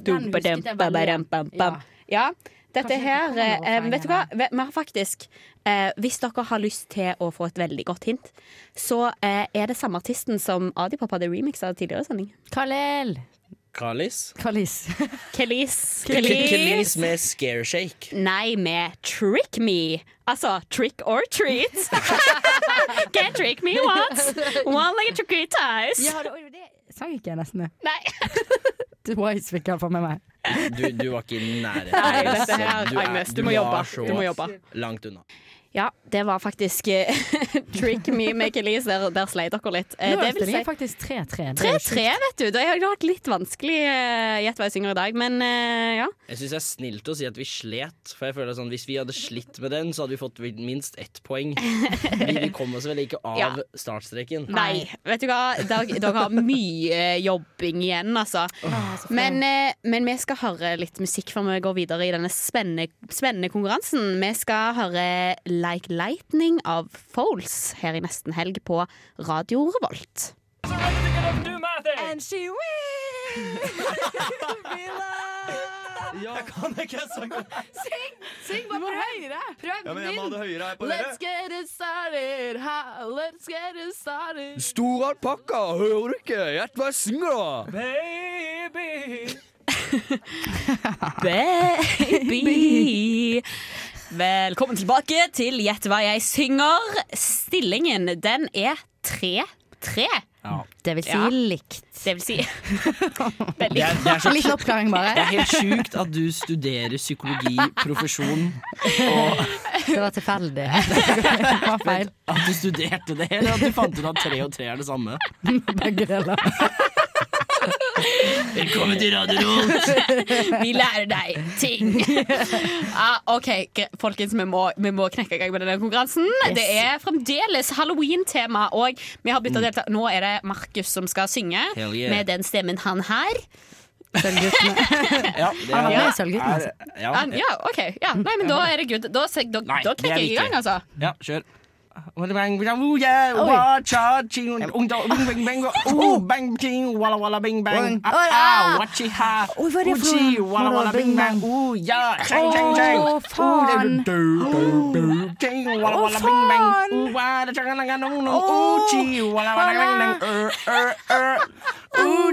S8: Den husket jeg veldig.
S7: Dum-ba-dum-ba-ba-dum-bam.
S8: Ja.
S7: Ja, dette
S8: Kanskje vi
S7: her
S8: kan prøve å
S7: eh,
S8: fange
S7: Vet du hva, vi vi har faktisk eh, Hvis dere har lyst til å få et veldig godt hint, så eh, er det samme artisten som Adipop hadde remixa tidligere i sending.
S8: Kalel.
S11: Kalis.
S8: Kalis.
S7: Kelis.
S11: Kalis med scare shake.
S7: Nei, med Trick Me. Altså Trick or
S11: *laughs*
S7: Treat. Get trick me once. One like a tricky ties.
S8: *laughs* Ja, det, oi, det sang ikke jeg nesten det.
S7: Nei.
S8: Twice fikk jeg for meg. meg.
S11: Du, du var ikke i nærheten.
S7: Nei,
S11: Agnes.
S7: dette her-
S11: Du er-
S7: Agnes, du
S11: du
S7: må
S11: var
S7: jobbe.
S11: så
S7: Du må jobbe.
S11: Langt unna.
S7: Ja, det var faktisk eh, *laughs* Trick me, make Elise. Der, der slei dere litt. Eh,
S8: Nå
S7: det vil
S8: øvde de
S7: si-
S8: faktisk 3-3. Det er
S7: 3-3, vet du. Da har jeg hatt litt vanskelig eh, gjett hva jeg synger i dag, men eh, ja.
S11: Jeg syns det er snilt å si at vi slet, for jeg føler sånn hvis vi hadde slitt med den, så hadde vi fått vel minst ett poeng. Vi, vi kom oss vel ikke av
S7: Ja.
S11: startstreken.
S7: Nei. Vet du hva, dere, dere har mye jobbing igjen, altså. Men, eh, men vi skal høre litt musikk før vi går videre i denne spennende, spennende konkurransen. Vi skal høre Like Lightning av Foles her i nesten helg på Radio Revolt.
S24: Do my thing. And she
S7: *laughs*
S26: Ja, kan ikke jeg sange?
S25: Syng! Syng bare prøv! Prøv
S26: Ja, men jeg må ha det høyere her på dere.
S25: Let's get it started, ha, let's get it started.
S13: Stor alpakka, hører du ikke? Gjett hva jeg synger, da!
S25: Baby!
S7: Baby. Velkommen tilbake til Gjett hva jeg synger. Stillingen den er 3-3.
S8: Det vil si likt.
S7: Det vil si
S11: Det er, det er så,
S8: Litt oppklaring
S7: *laughs*
S8: bare.
S11: Det er helt sjukt at du studerer psykologi, profesjon,
S8: Det var tilfeldig.
S7: *laughs*
S8: Det var feil.
S11: at du studerte det, eller at du fant ut at tre og tre er det samme.
S8: *laughs* Begge deler.
S11: Velkommen til Radio
S7: Vi lærer deg ting. *laughs* Ah, OK, gre- folkens, vi må, vi må knekke i gang med denne konkurransen.
S8: Yes.
S7: Det er fremdeles halloween-tema, og vi har bytta delta. Nå er det Markus som skal synge
S11: Hell yeah.
S7: med den stemmen han har.
S11: Ja, det
S7: Han var med i
S11: er-
S7: Sølvgutten,
S11: er-
S7: altså.
S11: Ja,
S7: Han- Ja, OK. Ja. Nei, men da er det good. Da, se- da,
S11: Nei,
S7: da
S11: det er
S7: knekker jeg i
S11: viktig.
S7: gang, altså.
S11: ja, kjør. oh, oh, Ah, Oi,
S8: hva er det for noe?
S11: Å,
S8: Å, faen.
S11: Å, faen!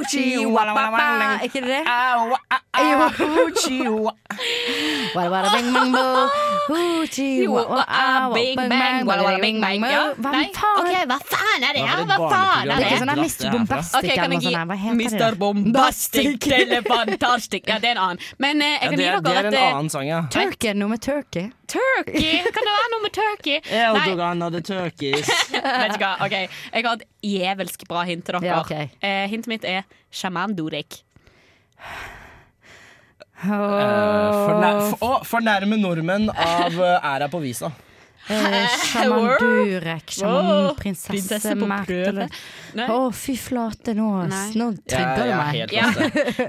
S8: Er ikke det det?
S7: Ah.
S11: ah,
S8: Jo. Walla, walla, bing, bang, bo. Uchi,
S7: Jo,
S8: wa, wa,
S7: ah,
S8: ah, wa,
S7: bing, bang, walla, walla, bing, bang.
S8: bo.
S7: Ja.
S8: Hva
S7: Nei,
S8: faen?
S7: OK, hva faen er det?
S8: Hva
S7: her?
S8: var det
S7: Hva faen er
S8: Det er ikke
S7: det?
S8: sånn der Mr. Bombastic
S7: Ok,
S8: eller
S7: kan jeg
S8: noe
S7: gi
S8: sånt. der. Hva heter det?
S7: Mr. Bombastic Telefantastic. Ja, det er en annen. Men eh, jeg
S11: Ja,
S7: kan
S11: det,
S7: gi
S11: er, det
S7: dere
S11: er
S7: at
S11: en
S7: eh,
S11: annen sang, ja.
S8: Turkey, noe med turkey.
S7: Turkey! Kan det være noe med turkey? Nei,
S11: Erdogan og the Turkish.
S7: vet du hva. Ok, Jeg har et jævelsk bra hint til dere.
S8: Ja, ok.
S7: eh, hintet mitt er sjaman Durek.
S11: Eh, Fornær, for, å, fornærme nordmenn av eh, æra på visa.
S7: *laughs*
S8: Eh, Sjaman
S7: Wow.
S8: Durek, sjaman
S7: Wow. Prinsesse
S8: prinsesse
S7: på
S8: Märtha.
S7: prøve. Nei.
S8: Å, fy flate, nå,
S7: Nei.
S8: nå
S11: Ja,
S8: trigger du
S11: ja,
S8: meg.
S11: helt
S7: Ja.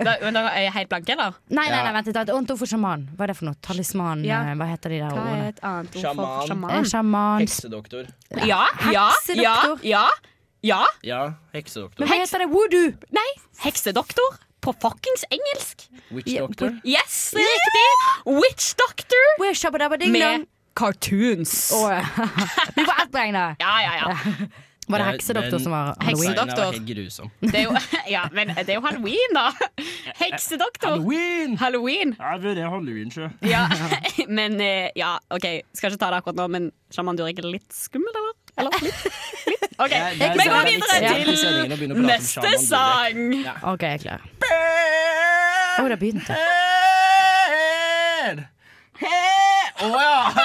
S7: Da, men da er jeg helt blank, eller?
S8: Nei, nei,
S11: Ja.
S8: nei, vent litt. vent. Onto for sjaman. Hva er det for noe? Talisman?
S7: Ja.
S8: eh, Hva heter de der
S7: Hva er
S8: ordene?
S7: et annet ord
S11: Sjaman.
S7: for
S8: Eh,
S7: sjaman?
S8: Sjaman
S11: Heksedoktor.
S7: Ja, ja, ja, ja. ja.
S11: Ja, heksedoktor.
S8: Men hva heter det? Voodoo?
S7: Nei, heksedoktor på fuckings engelsk.
S11: Witch doctor.
S7: Yes, det er riktig! Witch doctor
S8: Where shabba-dabba-ding
S7: med
S8: dong?
S7: cartoons.
S8: Å, ja. *laughs* Vi får ett poeng, da.
S7: Ja, ja, ja.
S8: Var det heksedoktor som var
S11: Nei,
S8: halloween?
S11: den var
S7: Heksedoktor.
S11: helt grusom.
S7: Det er jo, *laughs* ja, men det er jo halloween, da. Heksedoktor.
S11: Halloween!
S7: Halloween. *laughs*
S11: Ja, det er halloween, sjø.
S7: Ja. Men eh, ja, OK, skal ikke ta det akkurat nå, men sjaman Durek er litt skummel, eller? Eller litt? litt. OK,
S11: Det er- det er
S7: vi går
S11: liksom-
S7: videre
S11: det er ikke sendingen å begynne å prate om
S7: til neste
S11: Shaman
S7: sang.
S8: OK, jeg er klar. Å, det begynte.
S11: head. Head. Oh, yeah.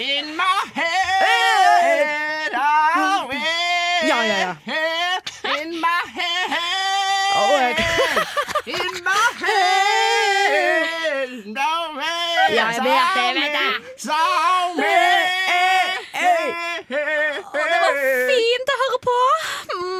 S11: In my head. I'll
S8: Ja, ja, ja.
S11: In my head.
S8: Å, jeg-
S11: In my head. No way.
S8: Ja, jeg vet det, jeg vet det.
S11: Zombie.
S7: Det var fint å høre på.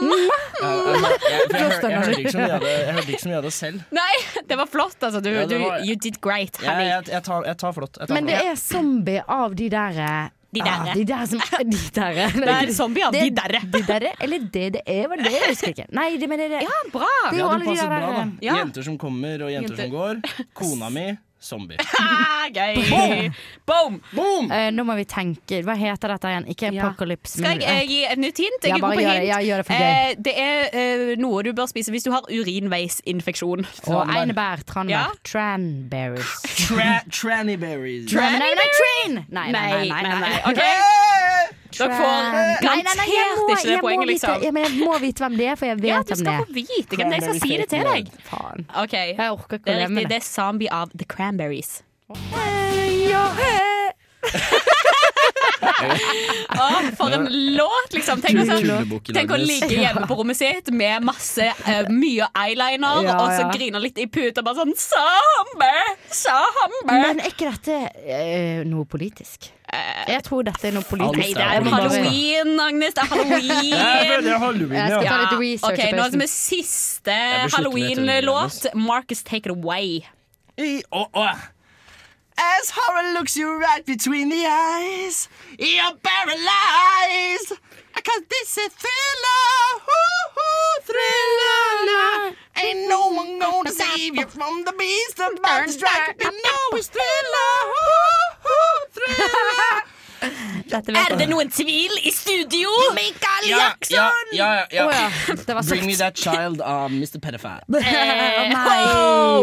S7: Mm.
S11: Jeg
S8: Forstår jeg
S11: hørte ikke så mye av det- jeg hørte ikke så mye av det
S8: *laughs*
S11: selv.
S7: Nei, det var flott, altså. Du,
S11: Ja, det
S7: du,
S11: var-
S7: you did great,
S11: Jeg,
S7: honey.
S11: jeg, jeg, tar, jeg tar flott. Jeg tar
S8: Men det
S11: flott.
S8: er zombie av de der eh,
S7: De derre.
S8: ah, de der som De derre.
S7: Det er zombier, de derre.
S8: De derre, eller det det er, var det jeg husker ikke. Nei, det, men det er det.
S7: Ja, bra.
S11: *laughs*
S7: *laughs*
S8: Det er
S11: Ja,
S8: jo
S11: du
S8: alle de
S11: passer
S8: der
S11: bra, da.
S8: eh,
S7: Ja.
S11: Jenter som kommer og jenter, som går. Kona mi
S8: *laughs*
S11: zombie.
S7: Ah, gøy. Boom.
S11: Boom!
S8: eh, Nå må vi tenke, hva heter dette igjen? Ikke
S7: Ja.
S8: apocalypse.
S11: Mm.
S7: Skal jeg eh, gi et nytt hint? Jeg
S8: Ja,
S7: er
S8: bare
S7: god på
S8: gjør det.
S7: hint.
S8: Ja, gjør det for
S7: Eh, det er eh, noe du bør spise hvis du har urinveisinfeksjon.
S8: Og einebær, tranbær,
S7: Ja.
S8: tranberries.
S11: Tra Tranny berries.
S8: Nei, men nei, nei, train! Nei, nei, nei. nei, nei.
S7: OK.
S5: Dere får
S8: Nei, nei, nei, jeg må,
S5: garantert ikke det
S8: jeg må
S5: poenget,
S8: vite-
S5: liksom.
S8: ja, men jeg må vite hvem det er, for jeg vet
S7: Ja, du
S8: hvem det
S7: skal
S8: er.
S7: få vite hvem det er. Jeg skal si det til deg.
S8: Faen.
S7: OK. Jeg orker det
S8: å
S7: er
S8: leve med
S7: riktig. Det er Zombie av The Cranberries. Å, for en låt, liksom. Tenk, å sånn,
S11: Julebukken
S7: tenk å
S11: Agnes.
S7: ligge hjemme på rommet sitt med masse eh, mye eyeliner,
S8: Ja,
S7: og så
S8: ja.
S7: grine litt i puta, bare sånn Zombie! Zombie!
S8: Men er ikke dette eh, noe politisk? Jeg tror dette er noe politisk.
S7: Eh, Nei, det er halloween, Agnes. Det er halloween.
S8: Ja, det er halloween, ja. Jeg skal ta litt research
S7: Ok, Nå
S8: forresten.
S7: som er siste
S8: Jeg blir slutten etter
S7: halloween-låt. Marcus, take it away.
S11: E
S24: As horror looks you right between the eyes, you're paralyzed. Cause this is thriller, hoo-hoo, thriller. Ain't no one gonna save you from the beast about to strike. You know it's thriller, hoo-hoo, thriller.
S7: Er det noen tvil i studio? Michael
S11: Ja, ja, ja,
S7: *laughs*
S11: ja, ja.
S8: Oh,
S7: Å, ja.
S8: Det var
S11: Bring
S7: *laughs*
S8: sagt.
S11: me that child av Mr. Pedophile.
S7: Eh,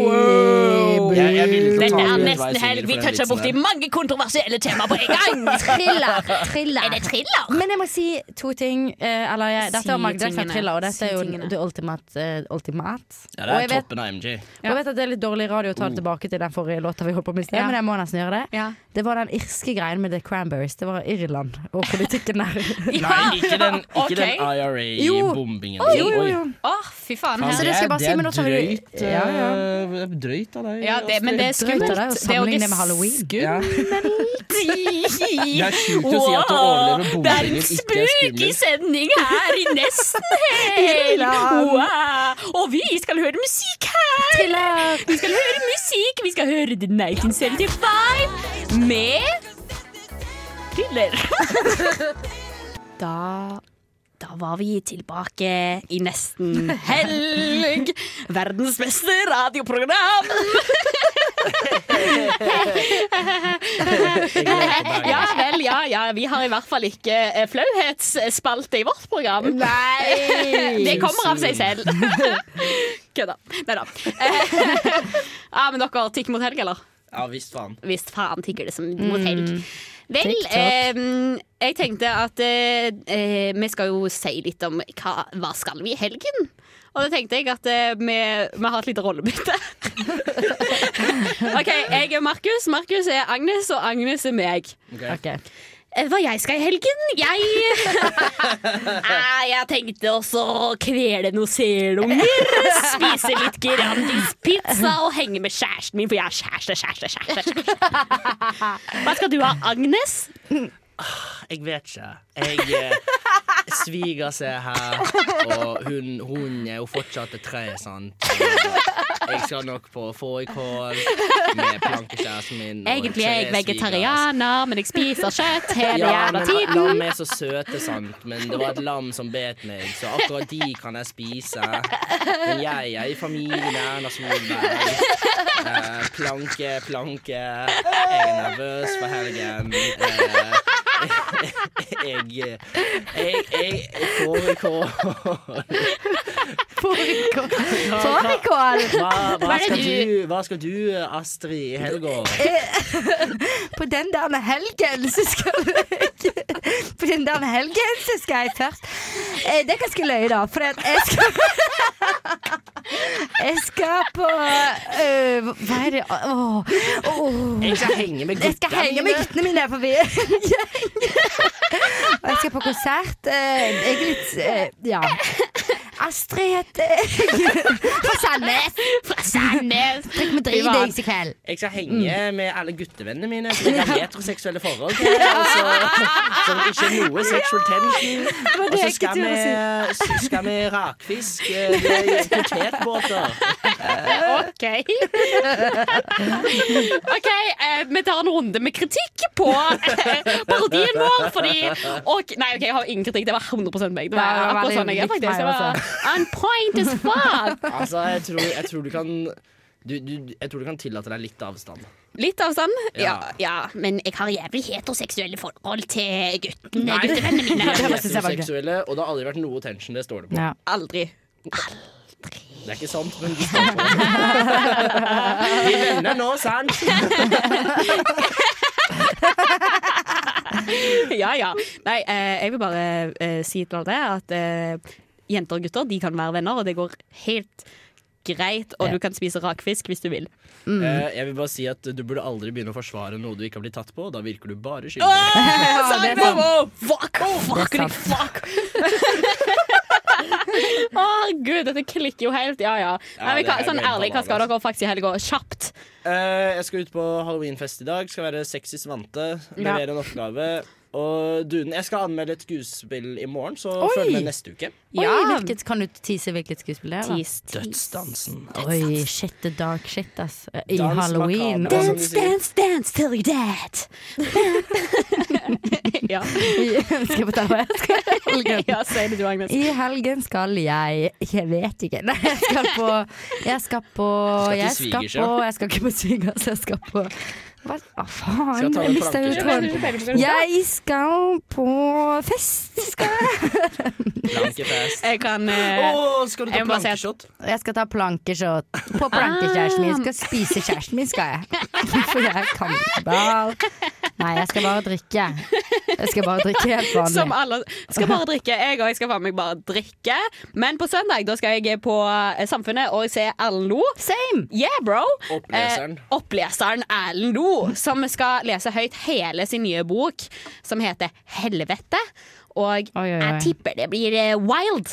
S11: Jeg- jeg ville ikke
S7: Dette
S11: ta
S7: er
S11: Edvard
S7: nesten
S11: Singer
S7: helg.
S11: for
S7: Vi
S11: den
S7: toucher
S11: vitsen
S7: borti
S11: her.
S7: mange kontroversielle temaer på en gang.
S8: *laughs* Thriller, thriller.
S7: Er det thriller?
S8: Men jeg må si to ting. eh, eller jeg, dette
S7: Si
S8: er Magda sin
S7: tingene.
S8: thriller, og dette
S7: Si
S8: er jo
S7: tingene.
S8: det ultimate. eh, ultimate.
S11: Ja,
S8: og
S11: det
S8: jeg
S11: er
S8: vet,
S11: toppen av MG.
S8: og jeg vet at det er litt dårlig radio å ta
S7: Mm.
S8: det tilbake til den forrige låta vi holdt på med i sted,
S11: Ja.
S8: men jeg må nesten gjøre det. Det var den irske greien med The Cranberries. Det var Irland og politikken
S7: *laughs*
S8: der.
S11: Nei, ikke den, ikke den
S8: Ok. Jo.
S11: IRA-bombingen.
S8: Oi, jo, jo, jo.
S7: Å, fy faen.
S11: Faen,
S7: her-
S11: det er, det er drøyt,
S7: Ja, ja.
S11: eh, drøyt av deg.
S7: Ja, det, men det er
S8: Altså, Drøyt
S7: skummelt.
S8: av deg
S7: er
S8: å
S7: jo
S8: sammenligne
S7: ikke
S8: med halloween.
S7: skummelt.
S11: Det er sjukt å si at du overlever
S7: Wow,
S11: bombinger, ikke
S7: Det
S11: er
S7: er en spooky
S11: skummelt.
S7: sending her i
S8: *laughs*
S7: nesten helg.
S11: Irland.
S7: Wow. Og vi skal høre musikk her. Vi skal høre musikk. Vi skal høre The 1975 med Thriller. da da var vi tilbake i nesten helg. *laughs* Verdens beste radioprogram. *laughs* ja vel, ja, ja. Vi har i hvert fall ikke eh, flauhetsspalte i vårt program.
S8: Nei.
S7: *laughs* Det kommer av seg *laughs* selv. Kødda. Nei da. *laughs* Ja, men dere tigger mot helg, eller?
S11: Ja visst faen. Mm.
S7: Visst faen tigger det som mot helg. Vel,
S11: TikTok.
S7: eh, jeg tenkte at eh, eh, vi skal jo si litt om hva, hva skal vi i helgen? Og da tenkte jeg at eh, vi, vi har et lite rollebytte. *laughs* OK, jeg er Markus, Markus er Agnes, og Agnes er meg.
S8: Ok.
S7: Eh, Hva jeg skal i helgen? Jeg *laughs* Eh, Jeg tenkte også å kvele noen selunger, spise litt Grandis pizza og henge med kjæresten min, for jeg har kjæreste, kjæreste, kjæreste. kjæreste. Hva skal du ha, Agnes?
S11: Jeg vet ikke. Jeg eh, Svigers er her, og hun, hun er jo fortsatt et tre, sant. Og Jeg skal nok på fårikål med plankekjæresten min. og
S7: Egentlig er jeg
S11: tre
S7: vegetarianer, men jeg spiser kjøtt
S11: svigers.
S7: hele
S11: Ja,
S7: jævla
S11: men
S7: tiden.
S11: lam er så søte, sant, men det var et lam som bet meg, så akkurat de kan jeg spise. Men jeg er i familie med Erna Solberg. Eh, planke, planke. Jeg er nervøs for helgen. Eh, jeg, jeg, jeg, jeg fårikål.
S8: Fårikål.
S11: Hva,
S8: Fårikål.
S11: hva, hva,
S8: Hva er
S11: skal
S8: det
S11: du, hva skal du, Astrid, i helga?
S8: På den der helgen så skal jeg På den der helgen så skal jeg først eh, Det kan jeg skal løye, da. For at jeg skal Jeg skal på eh, Hva er det Åh, åh.
S11: Jeg skal henge med
S8: Jeg skal
S11: guttene
S8: henge med
S11: mine.
S8: guttene mine, for vi er en gjeng. Og jeg skal på konsert. eh, Jeg er litt eh, Ja. Astrid heter
S7: *laughs*
S8: jeg. Fra Sandnes.
S7: Fra Sandnes.
S8: Drikk med dritings i kveld.
S11: Jeg skal henge med alle guttevennene mine som jeg har heteroseksuelle forhold til. og så- Som ikke er noe sexual tension.
S26: Det var det
S11: Og så
S26: jeg
S11: skal
S26: skulle
S11: vi,
S26: til
S11: så skal vi rakfisk eh, med potetbåter.
S7: OK. *laughs* OK, eh, vi tar en runde med kritikk på eh, parodien vår, fordi og, Nei, OK, jeg har ingen kritikk. Det var 100 meg. Det var
S8: Ja, det var
S7: akkurat sånn jeg er,
S8: veldig likt
S7: faktisk. Det
S8: meg
S7: var on point as fuck.
S11: Altså, jeg tror, jeg tror du kan du, du, jeg tror du kan tillate deg litt avstand.
S7: Litt avstand? Ja.
S11: Ja.
S7: ja. Men jeg har jævlig heteroseksuelle forhold til gutten,
S11: Nei, *laughs*
S7: guttevennene
S11: Vi
S7: mine.
S11: er heteroseksuelle, og det har aldri vært noe tension. Det står det på.
S7: Aldri.
S11: Det er ikke sant, men vi står på det. Vi er venner nå, sant?
S7: *laughs* ja, ja. Nei, eh, jeg vil bare eh, si til alle det at eh, jenter og gutter de kan være venner, og det går helt greit. Og du kan spise rakfisk hvis du vil. Mm.
S11: Eh, jeg vil bare si at du burde aldri begynne å forsvare noe du ikke har blitt tatt på. Da virker du bare skyldig.
S7: Åh, sa jeg det? sånn, Fuck, fuck,
S11: Det er sant.
S7: fuck! *laughs* Å, herregud, dette klikker jo helt. Ja, ja.
S11: Ja,
S7: Nei, men,
S11: det
S7: hva,
S11: er
S7: sånn
S11: helt altså.
S7: ærlig, hva skal dere faktisk i helga? Kjapt.
S11: Eh, jeg skal ut på halloweenfest i dag. Skal være sexy Svante.
S7: Ja.
S11: Levere en oppgave. Og Duden, jeg skal anmelde et skuespill i morgen, så
S8: Oi!
S11: følg med neste uke.
S8: Oi, hvilket, kan du tease hvilket skuespill det er? da?
S7: Tease,
S11: Dødsdansen.
S8: Oi, shit, the dark shit, ass. I
S11: Dans
S8: halloween.
S11: macabre, som de sier.
S7: dance, dance till you're dead. ja.
S8: *laughs* Skal jeg fortelle hva jeg skal
S7: ja, si det du, Agnes.
S8: I helgen skal jeg Jeg vet ikke. Nei, jeg skal på Jeg skal på
S7: til
S8: Jeg skal
S7: svigers,
S8: på
S7: ja.
S8: Jeg skal ikke på svigers, jeg skal på Hva ah,
S7: Skal
S8: faen?
S7: jeg ta
S8: Jeg
S7: en
S8: mista jo
S7: planke?
S8: tråden. Jeg skal på fest, skal jeg. *laughs*
S7: Jeg kan eh,
S11: Åh, skal du ta
S7: plankeshot?
S8: Eh, Jeg skal ta plankeshot på plankekjæresten min. Skal spise kjæresten min, skal jeg. *laughs* For jeg er kannibal. Nei, jeg skal bare drikke. Jeg skal bare drikke helt vanlig.
S7: Som alle skal bare drikke. Jeg òg skal faen meg bare drikke. Men på søndag da skal jeg på eh, Samfunnet og se Erlend Lo.
S8: Same.
S7: Yeah, bro.
S11: Oppleseren.
S7: Eh, oppleseren Erlend Lo, som skal lese høyt hele sin nye bok, som heter Helvete. Og jeg tipper det blir eh, wild.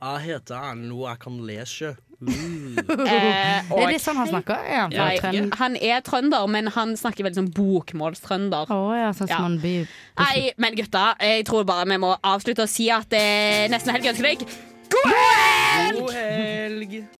S11: Jeg heter Erlend Lo, jeg kan lese.
S7: Eh, og-
S8: *laughs* Det er litt sånn han snakker. Er han fra
S7: Nei,
S8: Trøndelag?
S7: han er trønder, men han snakker veldig sånn bokmålstrønder.
S8: Å ja, sånn som han blir
S7: Nei, men gutta, jeg tror bare vi må avslutte og si at eh, nesten helg ønsker deg god helg!
S11: God helg!